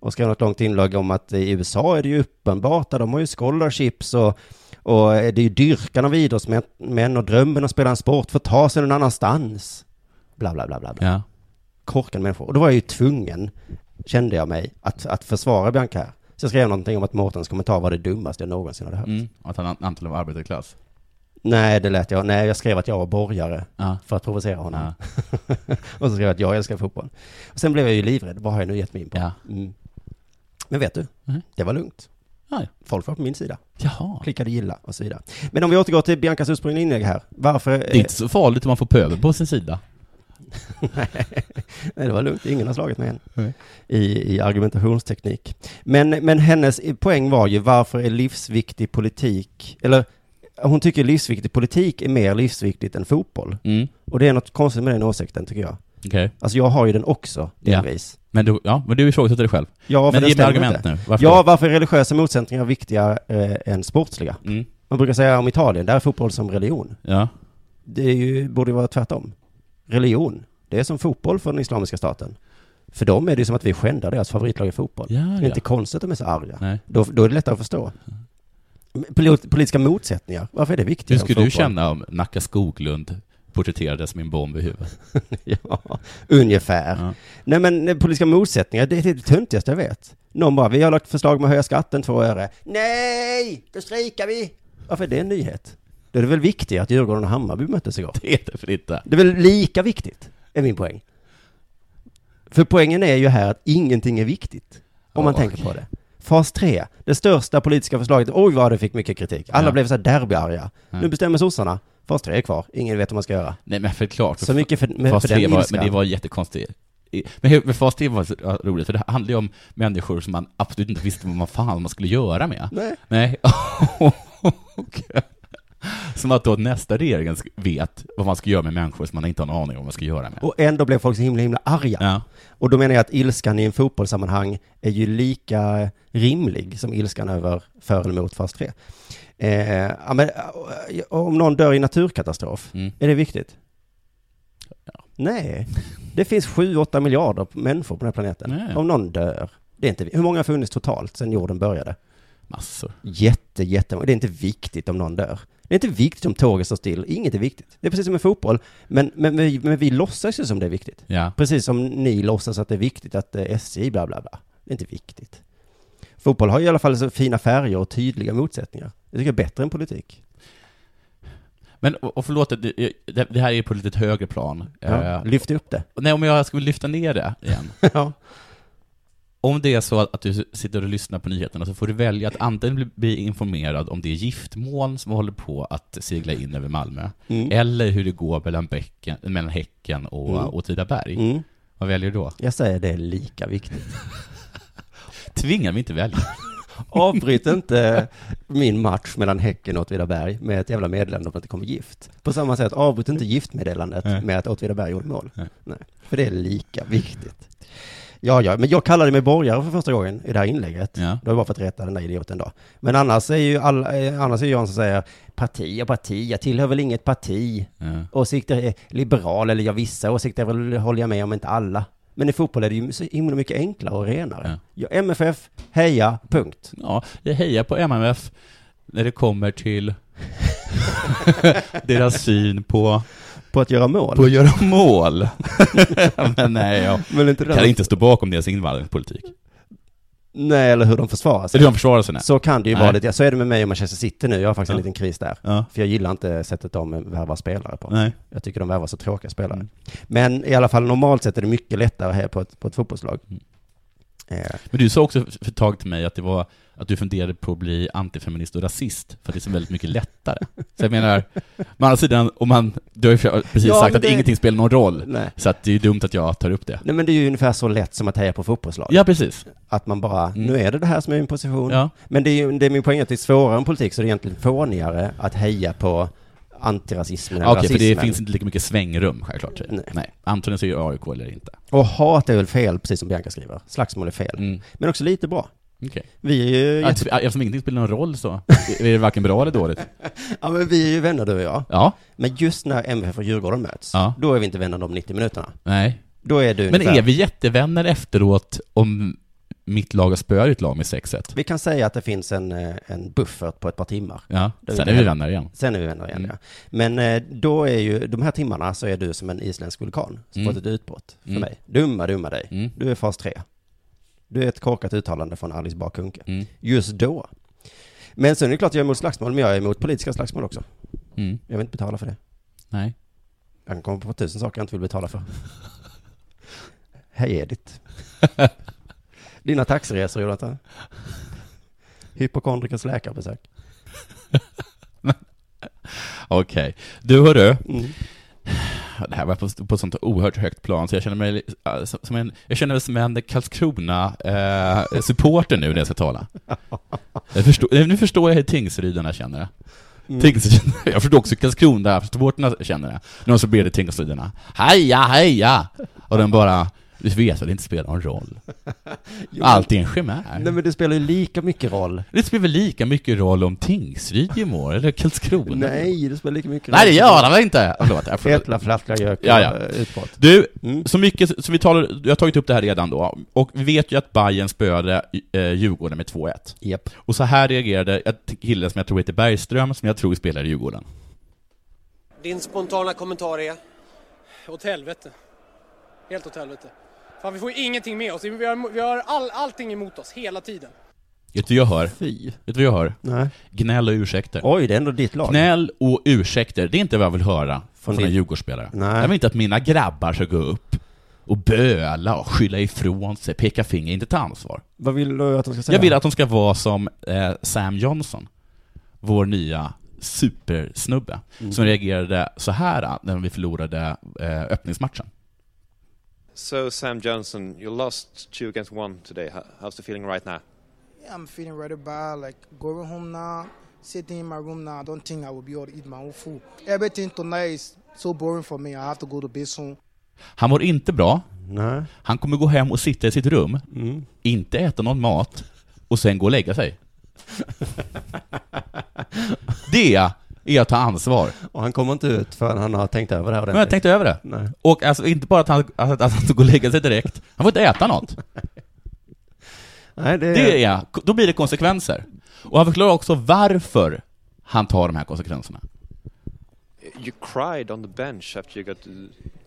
[SPEAKER 9] Och skrev något långt inlägg om att i USA är det ju uppenbart, där de har ju scholarships och, och det är ju dyrkan av idrottsmän och drömmen att spela en sport för att ta sig någon annanstans. Bla, bla, bla, bla. bla.
[SPEAKER 10] Ja.
[SPEAKER 9] Korkade människor. Och då var jag ju tvungen, kände jag mig, att, att försvara Bianca här. Så jag skrev någonting om att Mårtens kommentar var det dummaste jag någonsin hade hört.
[SPEAKER 10] Mm. Att han an- antagligen var arbetarklass.
[SPEAKER 9] Nej, det lät jag. Nej, jag skrev att jag var borgare för att provocera honom. och så skrev jag att jag älskar fotboll. Och sen blev jag ju livrädd. Vad har jag nu gett mig in på? Mm. Men vet du, det var lugnt.
[SPEAKER 10] Ja, ja.
[SPEAKER 9] Folk var på min sida.
[SPEAKER 10] Jaha.
[SPEAKER 9] Klickade gilla och så vidare. Men om vi återgår till Biancas ursprungliga inlägg här. Varför?
[SPEAKER 10] Det är inte så farligt om man får pöbel på sin sida.
[SPEAKER 9] Nej, det var lugnt. Ingen har slagit mig än. I, I argumentationsteknik. Men, men hennes poäng var ju varför är livsviktig politik, eller hon tycker livsviktig politik är mer livsviktigt än fotboll.
[SPEAKER 10] Mm.
[SPEAKER 9] Och det är något konstigt med den åsikten tycker jag.
[SPEAKER 10] Okej.
[SPEAKER 9] Alltså jag har ju den också,
[SPEAKER 10] Ja.
[SPEAKER 9] delvis.
[SPEAKER 10] Men du, ja, men du ifrågasätter dig själv.
[SPEAKER 9] Ja, för den
[SPEAKER 10] men ge mig
[SPEAKER 9] stämmer
[SPEAKER 10] argument
[SPEAKER 9] inte.
[SPEAKER 10] nu. Varför?
[SPEAKER 9] Ja, varför är religiösa motsättningar viktigare eh, än sportsliga? Man brukar säga om Italien, där är fotboll som religion.
[SPEAKER 10] Ja.
[SPEAKER 9] Det är ju, borde ju vara tvärtom. Religion, det är som fotboll för den Islamiska staten. För dem är det ju som att vi skändar deras favoritlag i fotboll.
[SPEAKER 10] Ja,
[SPEAKER 9] det är
[SPEAKER 10] ja.
[SPEAKER 9] inte konstigt att de är så arga.
[SPEAKER 10] Nej.
[SPEAKER 9] Då, då är det lättare att förstå. Men polit- Politiska motsättningar, varför är det viktigt?
[SPEAKER 10] Hur skulle du känna om Nacka Skoglund porträtterades med en bomb i huvudet?
[SPEAKER 9] ja, ungefär. Nej men eh, politiska motsättningar, det är det töntigaste jag vet. Någon bara, vi har lagt förslag om att höja skatten två öre. Nej, då strejkar vi. Varför är det en nyhet? Då är det väl viktigt att Djurgården och Hammarby möttes igår?
[SPEAKER 10] Det är det för inte.
[SPEAKER 9] Det är väl lika viktigt, är min poäng. För poängen är ju här att ingenting är viktigt, om man tänker på det. Fas 3, det största politiska förslaget, oj vad det fick mycket kritik. Alla
[SPEAKER 10] Ja.
[SPEAKER 9] blev så här derbyarga.
[SPEAKER 10] Ja.
[SPEAKER 9] Nu bestämmer sossarna, fas 3 är kvar, ingen vet vad man ska göra.
[SPEAKER 10] Nej men för klart.
[SPEAKER 9] Så mycket för, med,
[SPEAKER 10] fas
[SPEAKER 9] för den
[SPEAKER 10] tre var,
[SPEAKER 9] ilskan.
[SPEAKER 10] Men det var jättekonstigt. I- Men, hur- men fas 3 var så ja, roligt, för det handlar ju om människor som man absolut inte visste vad man fan man skulle göra med.
[SPEAKER 9] Nej.
[SPEAKER 10] Och- som att då nästa regering sk- vet vad man ska göra med människor som man inte har en aning om vad man ska göra med.
[SPEAKER 9] Och ändå blev folk så himla, himla arga. Och då menar jag att ilskan i en fotbollssammanhang är ju lika rimlig som ilskan över för eller mot fas 3. Eh, ja, men, eh, om någon dör i naturkatastrof, är det viktigt? Nej, det finns 7-8 miljarder människor på den här planeten.
[SPEAKER 10] Nej.
[SPEAKER 9] Om någon dör, det är inte, hur många har funnits totalt sedan jorden började?
[SPEAKER 10] Massor.
[SPEAKER 9] Jätte, jättemånga. Det är inte viktigt om någon dör. Det är inte viktigt om tåget står still. Inget är viktigt. Det är precis som med fotboll. Men, men, men, vi- men vi låtsas ju som det är viktigt.
[SPEAKER 10] Ja.
[SPEAKER 9] Precis som ni låtsas att det är viktigt att eh, SJ bla bla bla. Det är inte viktigt. Fotboll har i alla fall så fina färger och tydliga motsättningar. Det tycker jag är bättre än politik.
[SPEAKER 10] Men, och och förlåt, att det, det det här är på ett lite högre plan.
[SPEAKER 9] Ja,
[SPEAKER 10] lyft upp det. Nej, om jag skulle lyfta ner det igen. Om det är så att, att du sitter och lyssnar på nyheterna så får du välja att antingen bli, bli informerad om det giftmoln som håller på att segla in över Malmö,
[SPEAKER 9] Mm.
[SPEAKER 10] eller hur det går mellan, bäcken, mellan Häcken och
[SPEAKER 9] Mm.
[SPEAKER 10] Åtvidaberg.
[SPEAKER 9] Mm.
[SPEAKER 10] Vad väljer du då?
[SPEAKER 9] Jag säger det är lika viktigt.
[SPEAKER 10] Tvinga mig inte välja.
[SPEAKER 9] Avbryt inte min match mellan Häcken och Åtvidaberg med ett jävla meddelande om att det kommer gift. På samma sätt, avbryt inte giftmeddelandet med att Åtvidaberg gjorde mål. Nej. För det är lika viktigt. Ja, ja, men jag kallade mig borgare för första gången i det här inlägget. Det var bara för att rätta den där idioten då. Men annars är ju alla, eh, annars är ju jag en som säger parti och parti, jag tillhör väl inget parti. Åsikter är liberal, eller jag vissa åsikter väl håller jag med om, inte alla. Men i fotboll är det ju så himla mycket enklare och renare. Ja. MFF, heja, punkt.
[SPEAKER 10] Ja, jag hejar på MMF när det kommer till deras syn på...
[SPEAKER 9] På att göra mål?
[SPEAKER 10] På att göra mål. Men nej, jag
[SPEAKER 9] Men inte det
[SPEAKER 10] kan
[SPEAKER 9] där-
[SPEAKER 10] inte stå bakom deras invandringspolitik.
[SPEAKER 9] Nej, eller hur de försvarar sig.
[SPEAKER 10] Eller hur de försvarar sig, nej.
[SPEAKER 9] Så kan det ju
[SPEAKER 10] Nej.
[SPEAKER 9] vara lite. Så är det med mig och Manchester City nu. Jag har faktiskt en
[SPEAKER 10] Ja.
[SPEAKER 9] liten kris där.
[SPEAKER 10] Ja.
[SPEAKER 9] För jag gillar inte sättet de värvar spelare på.
[SPEAKER 10] Nej.
[SPEAKER 9] Jag tycker de värvar så tråkiga spelare.
[SPEAKER 10] Mm.
[SPEAKER 9] Men i alla fall normalt sett är det mycket lättare här på ett, på ett fotbollslag.
[SPEAKER 10] Mm.
[SPEAKER 9] Eh,
[SPEAKER 10] Men du sa också för ett tag till mig att det var att du funderade på att bli antifeminist och rasist, för att det är så väldigt mycket lättare. Så jag menar, å andra sidan, om man, du har ju precis
[SPEAKER 9] Ja,
[SPEAKER 10] sagt
[SPEAKER 9] men
[SPEAKER 10] att
[SPEAKER 9] det-
[SPEAKER 10] ingenting spelar någon roll,
[SPEAKER 9] Nej.
[SPEAKER 10] så att det är ju dumt att jag tar upp det.
[SPEAKER 9] Nej men det är ju ungefär så lätt som att heja på fotbollslag.
[SPEAKER 10] Ja, precis.
[SPEAKER 9] Att man bara, nu är det det här som är min position.
[SPEAKER 10] Ja.
[SPEAKER 9] Men det är, ju- det är min poäng att det är svårare än politik så det är egentligen fånigare att heja på antirasismen eller
[SPEAKER 10] Okej, för det
[SPEAKER 9] rasismen.
[SPEAKER 10] finns inte lika mycket svängrum, självklart. Nej. Nej. Antagligen så är det AIK eller inte.
[SPEAKER 9] Och hat är väl fel, precis som Bianca skriver. Slagsmål är fel.
[SPEAKER 10] Mm.
[SPEAKER 9] Men också lite bra.
[SPEAKER 10] Okej.
[SPEAKER 9] Vi är ju...
[SPEAKER 10] Att, eftersom ingenting spelar någon roll så, är det varken bra eller dåligt.
[SPEAKER 9] Ja men vi är ju vänner du och jag.
[SPEAKER 10] Ja.
[SPEAKER 9] Men just när MFF och Djurgården möts,
[SPEAKER 10] Ja.
[SPEAKER 9] då är vi inte vänner de 90 minuterna.
[SPEAKER 10] Nej.
[SPEAKER 9] Då är du
[SPEAKER 10] Men
[SPEAKER 9] ungefär-
[SPEAKER 10] är vi jättevänner efteråt om mitt lag har spöat ditt lag med 6-1?
[SPEAKER 9] Vi kan säga att det finns en, eh, en buffert på ett par timmar.
[SPEAKER 10] Ja,
[SPEAKER 9] Där
[SPEAKER 10] sen är vi vänner igen.
[SPEAKER 9] Sen är vi vänner igen,
[SPEAKER 10] Mm.
[SPEAKER 9] ja. Men eh, då är ju, de här timmarna så är du som en isländsk vulkan som
[SPEAKER 10] Mm.
[SPEAKER 9] fått ett utbrott för
[SPEAKER 10] Mm.
[SPEAKER 9] mig. Dumma, dumma dig. Du är fas 3. Du är ett korkat uttalande från Alice Bah Kuhnke.
[SPEAKER 10] Mm.
[SPEAKER 9] Just då. Men sen är det klart jag är emot slagsmål, men jag är emot politiska slagsmål också.
[SPEAKER 10] Mm.
[SPEAKER 9] Jag vill inte betala för det.
[SPEAKER 10] Nej.
[SPEAKER 9] Jag kan komma på tusen saker jag inte vill betala för. Hej Edith. Dina taxiresor Jonathan. Hypokondrikers läkarbesök.
[SPEAKER 10] Okej. Du hörru.
[SPEAKER 9] Mm.
[SPEAKER 10] Det här var på, på ett sånt oerhört högt plan, så jag känner mig eh, som- som en, jag känner mig som en Karlskrona-supporter nu när jag ska tala. Jag förstår, nu förstår jag hur Tingsrydarna känner det.
[SPEAKER 9] Mm.
[SPEAKER 10] Tingsryd, jag förstår också hur Karlskrona-supporterna känner det. När de så ber det Tingsrydarna. Heja, heja! Och den bara, du vet att det inte spelar någon roll.
[SPEAKER 9] Jo,
[SPEAKER 10] Allt är en chimär.
[SPEAKER 9] Nej men det spelar ju lika mycket roll.
[SPEAKER 10] Det spelar väl lika mycket roll om Tingsryd gör mål, eller Karlskrona?
[SPEAKER 9] Nej, det spelar lika mycket
[SPEAKER 10] Nej, det gör Alltså, det
[SPEAKER 9] roll.
[SPEAKER 10] väl inte? Ja, Förlåt, jag får-
[SPEAKER 9] Äppla, flattla, gök och,
[SPEAKER 10] ja, ja.
[SPEAKER 9] eh, utbrott.
[SPEAKER 10] Du, så mycket, så vi talar, jag har tagit upp det här redan då, och vi vet ju att Bayern spöade eh, Djurgården med 2-1.
[SPEAKER 9] Yep.
[SPEAKER 10] Och så här reagerade en kille som jag tror heter Bergström, som jag tror spelar i Djurgården.
[SPEAKER 18] Din spontana kommentar är? Åt helvete. Helt åt helvete. Fan, vi får ju ingenting med oss. Vi har, vi har all, allting emot oss hela tiden.
[SPEAKER 10] Vet du vad jag hör?
[SPEAKER 9] Fy.
[SPEAKER 10] Vet du vad jag hör?
[SPEAKER 9] Nej.
[SPEAKER 10] Gnäll och ursäkter.
[SPEAKER 9] Oj, det är ändå ditt lag.
[SPEAKER 10] Gnäll och ursäkter, det är inte vad jag vill höra från,
[SPEAKER 9] din-
[SPEAKER 10] en Djurgårdsspelare.
[SPEAKER 9] Nej.
[SPEAKER 10] Jag vill inte att mina grabbar ska gå upp och böla och skylla ifrån sig, peka finger, inte ta ansvar.
[SPEAKER 9] Vad vill du att de ska säga?
[SPEAKER 10] Jag vill att de ska vara som eh, Sam Johnson, vår nya supersnubbe,
[SPEAKER 19] Mm.
[SPEAKER 10] som reagerade så här när vi förlorade eh, öppningsmatchen.
[SPEAKER 19] So, Sam Johnson, you lost two against one today. How, how's the feeling right now?
[SPEAKER 20] Yeah, I'm feeling rather bad. Like going home now, sitting in my room now. I don't think I will be able to eat my own food. Everything tonight is so boring for me. I have to go to bed soon.
[SPEAKER 10] Han mår inte bra. Han kommer gå hem och sitta i sitt rum, inte äta någon mat och sen gå och lägga sig. det är att ta ansvar.
[SPEAKER 9] Och han kommer inte ut förrän han har tänkt över det här
[SPEAKER 10] Men jag tänkte över det.
[SPEAKER 9] Nej.
[SPEAKER 10] Och alltså inte bara att han, att, att han ska gå och lägga sig direkt, han får inte äta något.
[SPEAKER 9] Nej, det-
[SPEAKER 10] det är, då blir det konsekvenser. Och han förklarar också varför han tar de här konsekvenserna.
[SPEAKER 19] You cried on the bench after you got uh,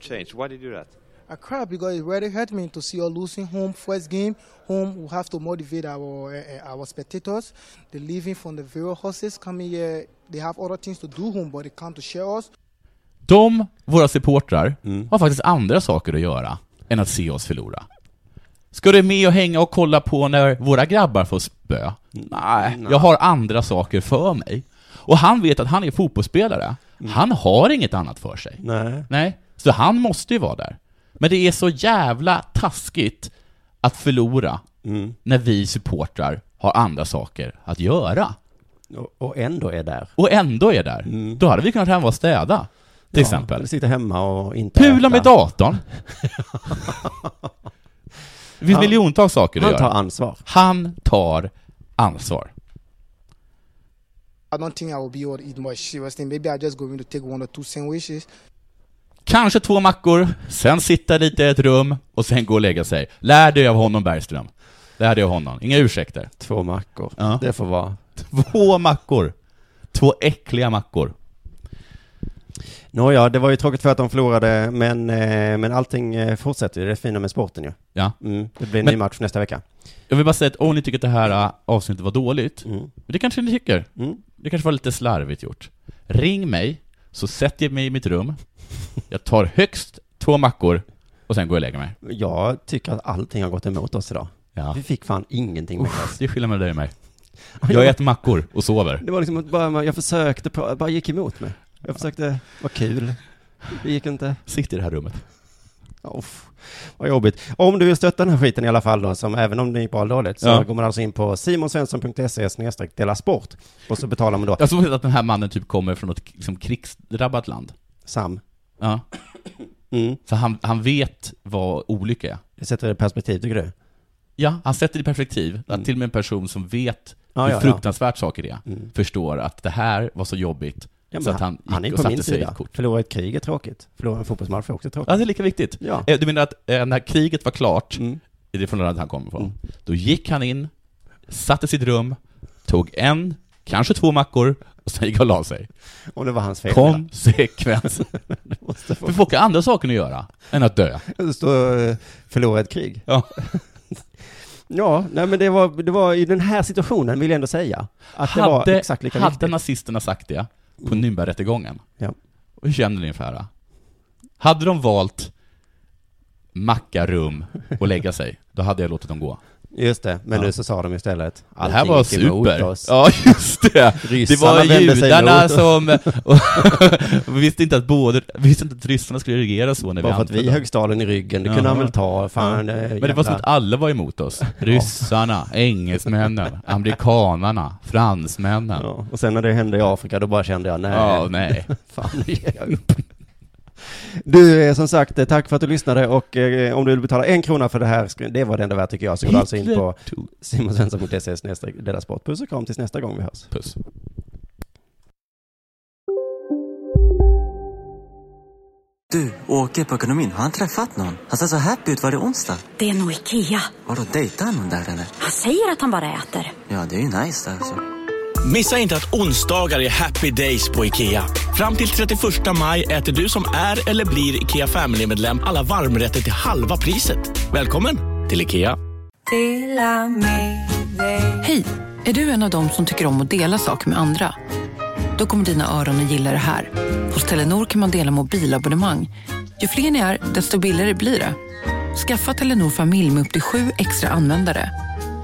[SPEAKER 19] changed. Why did you do that?
[SPEAKER 20] I cried because it really hurt me to see us losing home first game. Home, we have to motivate our uh, our spectators. They're leaving from the various horses coming here. They have other things to do home, but they come to share us.
[SPEAKER 10] De, våra supportrar,
[SPEAKER 9] Mm.
[SPEAKER 10] har faktiskt andra saker att göra än att se oss förlora. Ska du med och hänga och kolla på när våra grabbar får spö?
[SPEAKER 9] Mm.
[SPEAKER 10] Nej, jag har andra saker för mig. Och han vet att han är fotbollsspelare. Han har inget annat för sig.
[SPEAKER 9] Mm. Nej.
[SPEAKER 10] Nej. Så han måste ju vara där. Men det är så jävla taskigt att förlora
[SPEAKER 9] Mm.
[SPEAKER 10] när vi supportrar har andra saker att göra.
[SPEAKER 9] Och, ändå är där.
[SPEAKER 10] Och ändå är där. Då hade vi kunnat hemma och städa. Till
[SPEAKER 9] Mm. Ja,
[SPEAKER 10] exempel.
[SPEAKER 9] eller sitta hemma och inte
[SPEAKER 10] Pula
[SPEAKER 9] äta.
[SPEAKER 10] med datorn. Det finns
[SPEAKER 9] Ja.
[SPEAKER 10] miljontals saker
[SPEAKER 9] Han
[SPEAKER 10] att göra.
[SPEAKER 9] tar ansvar.
[SPEAKER 10] Han tar ansvar.
[SPEAKER 20] I don't think I will be able to eat much. Seriously, maybe I'm just going to take one or two sandwiches.
[SPEAKER 10] Kanske två mackor, sen sitta lite i ett rum och sen gå och lägga sig. Lär dig av honom Bergström. Lär dig av honom. Inga ursäkter.
[SPEAKER 9] Två mackor.
[SPEAKER 10] Ja.
[SPEAKER 9] Det får vara.
[SPEAKER 10] Två mackor. Två äckliga mackor.
[SPEAKER 9] Nåja, det var ju tråkigt för att de förlorade, men, eh, men allting eh, fortsätter ju. Det är det fina med sporten ju.
[SPEAKER 10] Ja.
[SPEAKER 9] Mm, det blir en
[SPEAKER 10] Men-
[SPEAKER 9] ny match nästa vecka.
[SPEAKER 10] Jag vill bara säga att om ni tycker att det här äh, avsnittet var dåligt, men det kanske ni tycker. Det kanske var lite slarvigt gjort. Ring mig, så sätter jag mig i mitt rum. Jag tar högst två mackor och sen går jag och lägger mig.
[SPEAKER 9] Jag tycker att allting har gått emot oss idag.
[SPEAKER 10] Ja.
[SPEAKER 9] Vi fick fan ingenting med
[SPEAKER 10] Usch,
[SPEAKER 9] oss.
[SPEAKER 10] det är skillnad mellan dig och mig. Jag äter mackor och sover.
[SPEAKER 9] Det var liksom att bara, jag försökte, pra- bara gick emot mig. Jag försökte, vad kul. Det gick inte.
[SPEAKER 10] Sitt i det här rummet.
[SPEAKER 9] Uff, vad jobbigt. Om du vill stötta den här skiten i alla fall då, som även om det gick bra eller dåligt, så
[SPEAKER 10] Ja.
[SPEAKER 9] går man alltså in på simonsvensson.se snedstreck dela sport. Och så betalar man då.
[SPEAKER 10] Jag såg att den här mannen typ kommer från något liksom, krigsdrabbat land.
[SPEAKER 9] Sam.
[SPEAKER 10] Ja.
[SPEAKER 9] Mm.
[SPEAKER 10] Så han, han vet vad olycka är.
[SPEAKER 9] Det sätter det i perspektiv, tycker du?
[SPEAKER 10] Ja, han sätter det i perspektiv. Att till och med en person som vet
[SPEAKER 9] Mm. Ja,
[SPEAKER 10] hur
[SPEAKER 9] ja, ja.
[SPEAKER 10] fruktansvärt saker är, förstår att det här var så jobbigt
[SPEAKER 9] Ja,
[SPEAKER 10] så
[SPEAKER 9] men
[SPEAKER 10] att han gick
[SPEAKER 9] han är
[SPEAKER 10] och
[SPEAKER 9] på
[SPEAKER 10] satte
[SPEAKER 9] min
[SPEAKER 10] sig i
[SPEAKER 9] sida.
[SPEAKER 10] ett kort.
[SPEAKER 9] Förlora ett krig är tråkigt. Förlora en fotbollsmatch är också tråkigt.
[SPEAKER 10] Ja, det är lika viktigt.
[SPEAKER 9] Ja. Mm.
[SPEAKER 10] Eh, Du menar att eh, när kriget var klart, i det från landet han kom ifrån, då gick han in, satte sitt rum, tog en, kanske två mackor, och sen gick han och la sig.
[SPEAKER 9] Och det var hans fel.
[SPEAKER 10] Konsekvens. För folk har andra saker att göra än att dö.
[SPEAKER 9] Just att förlora ett eh, krig.
[SPEAKER 10] Ja.
[SPEAKER 9] ja, nej men det var, det var i den här situationen, vill jag ändå säga, att det var
[SPEAKER 10] hade,
[SPEAKER 9] exakt lika
[SPEAKER 10] hade
[SPEAKER 9] viktigt.
[SPEAKER 10] nazisterna sagt det på
[SPEAKER 9] Mm.
[SPEAKER 10] Nürnbergrättegången,
[SPEAKER 9] Ja.
[SPEAKER 10] och hur känner ni ungefär? då? Hade de valt macka, rum och lägga sig, då hade jag låtit dem gå.
[SPEAKER 9] Just det, men
[SPEAKER 10] Ja.
[SPEAKER 9] nu så sa de istället
[SPEAKER 10] Det här
[SPEAKER 9] "Allting
[SPEAKER 10] var
[SPEAKER 9] gick emot
[SPEAKER 10] super.
[SPEAKER 9] oss."
[SPEAKER 10] Ja, just det. Det
[SPEAKER 9] Ryssarna
[SPEAKER 10] var
[SPEAKER 9] vände sig
[SPEAKER 10] judarna
[SPEAKER 9] emot oss.
[SPEAKER 10] som... Och, visste inte att både... Visste inte att ryssarna skulle reagera så när
[SPEAKER 9] Bara
[SPEAKER 10] vi
[SPEAKER 9] för att vi
[SPEAKER 10] anföll dem.
[SPEAKER 9] högg staden i ryggen, det kunde
[SPEAKER 10] Ja.
[SPEAKER 9] han väl ta, fan
[SPEAKER 10] Ja.
[SPEAKER 9] eh,
[SPEAKER 10] Men det
[SPEAKER 9] jävla-
[SPEAKER 10] var som att alla var emot oss. Ryssarna, engelsmännen, amerikanarna, fransmännen.
[SPEAKER 9] ja. Och sen när det hände i Afrika, då bara kände jag nej.
[SPEAKER 10] Ja, nej.
[SPEAKER 9] fan, nu ger jag upp. Du, eh, som sagt, eh, tack för att du lyssnade och eh, om du vill betala en krona för det här, sk- det var det enda värt tycker jag, så går du alltså in på simonsvensson.se E snedstreck Della sport. Puss och kram tills nästa gång vi hörs.
[SPEAKER 10] Puss.
[SPEAKER 21] Du, åker på ekonomin. Har han träffat någon? Han ser så happy ut. Var det onsdag?
[SPEAKER 22] Det är nog Ikea.
[SPEAKER 21] Vadå, dejtar han någon där eller?
[SPEAKER 22] Han säger att han bara äter.
[SPEAKER 21] Ja, det är ju nice alltså.
[SPEAKER 23] Missa inte att onsdagar är happy days på IKEA. Fram till 31 maj äter du som är eller blir IKEA Family-medlem alla varmrätter till halva priset. Välkommen till IKEA.
[SPEAKER 12] Hej! Är du en av dem som tycker om att dela saker med andra? Då kommer dina öron att gilla det här. Hos Telenor kan man dela mobilabonnemang. Ju fler ni är, desto billigare blir det. Skaffa Telenor familj med upp till sju extra användare.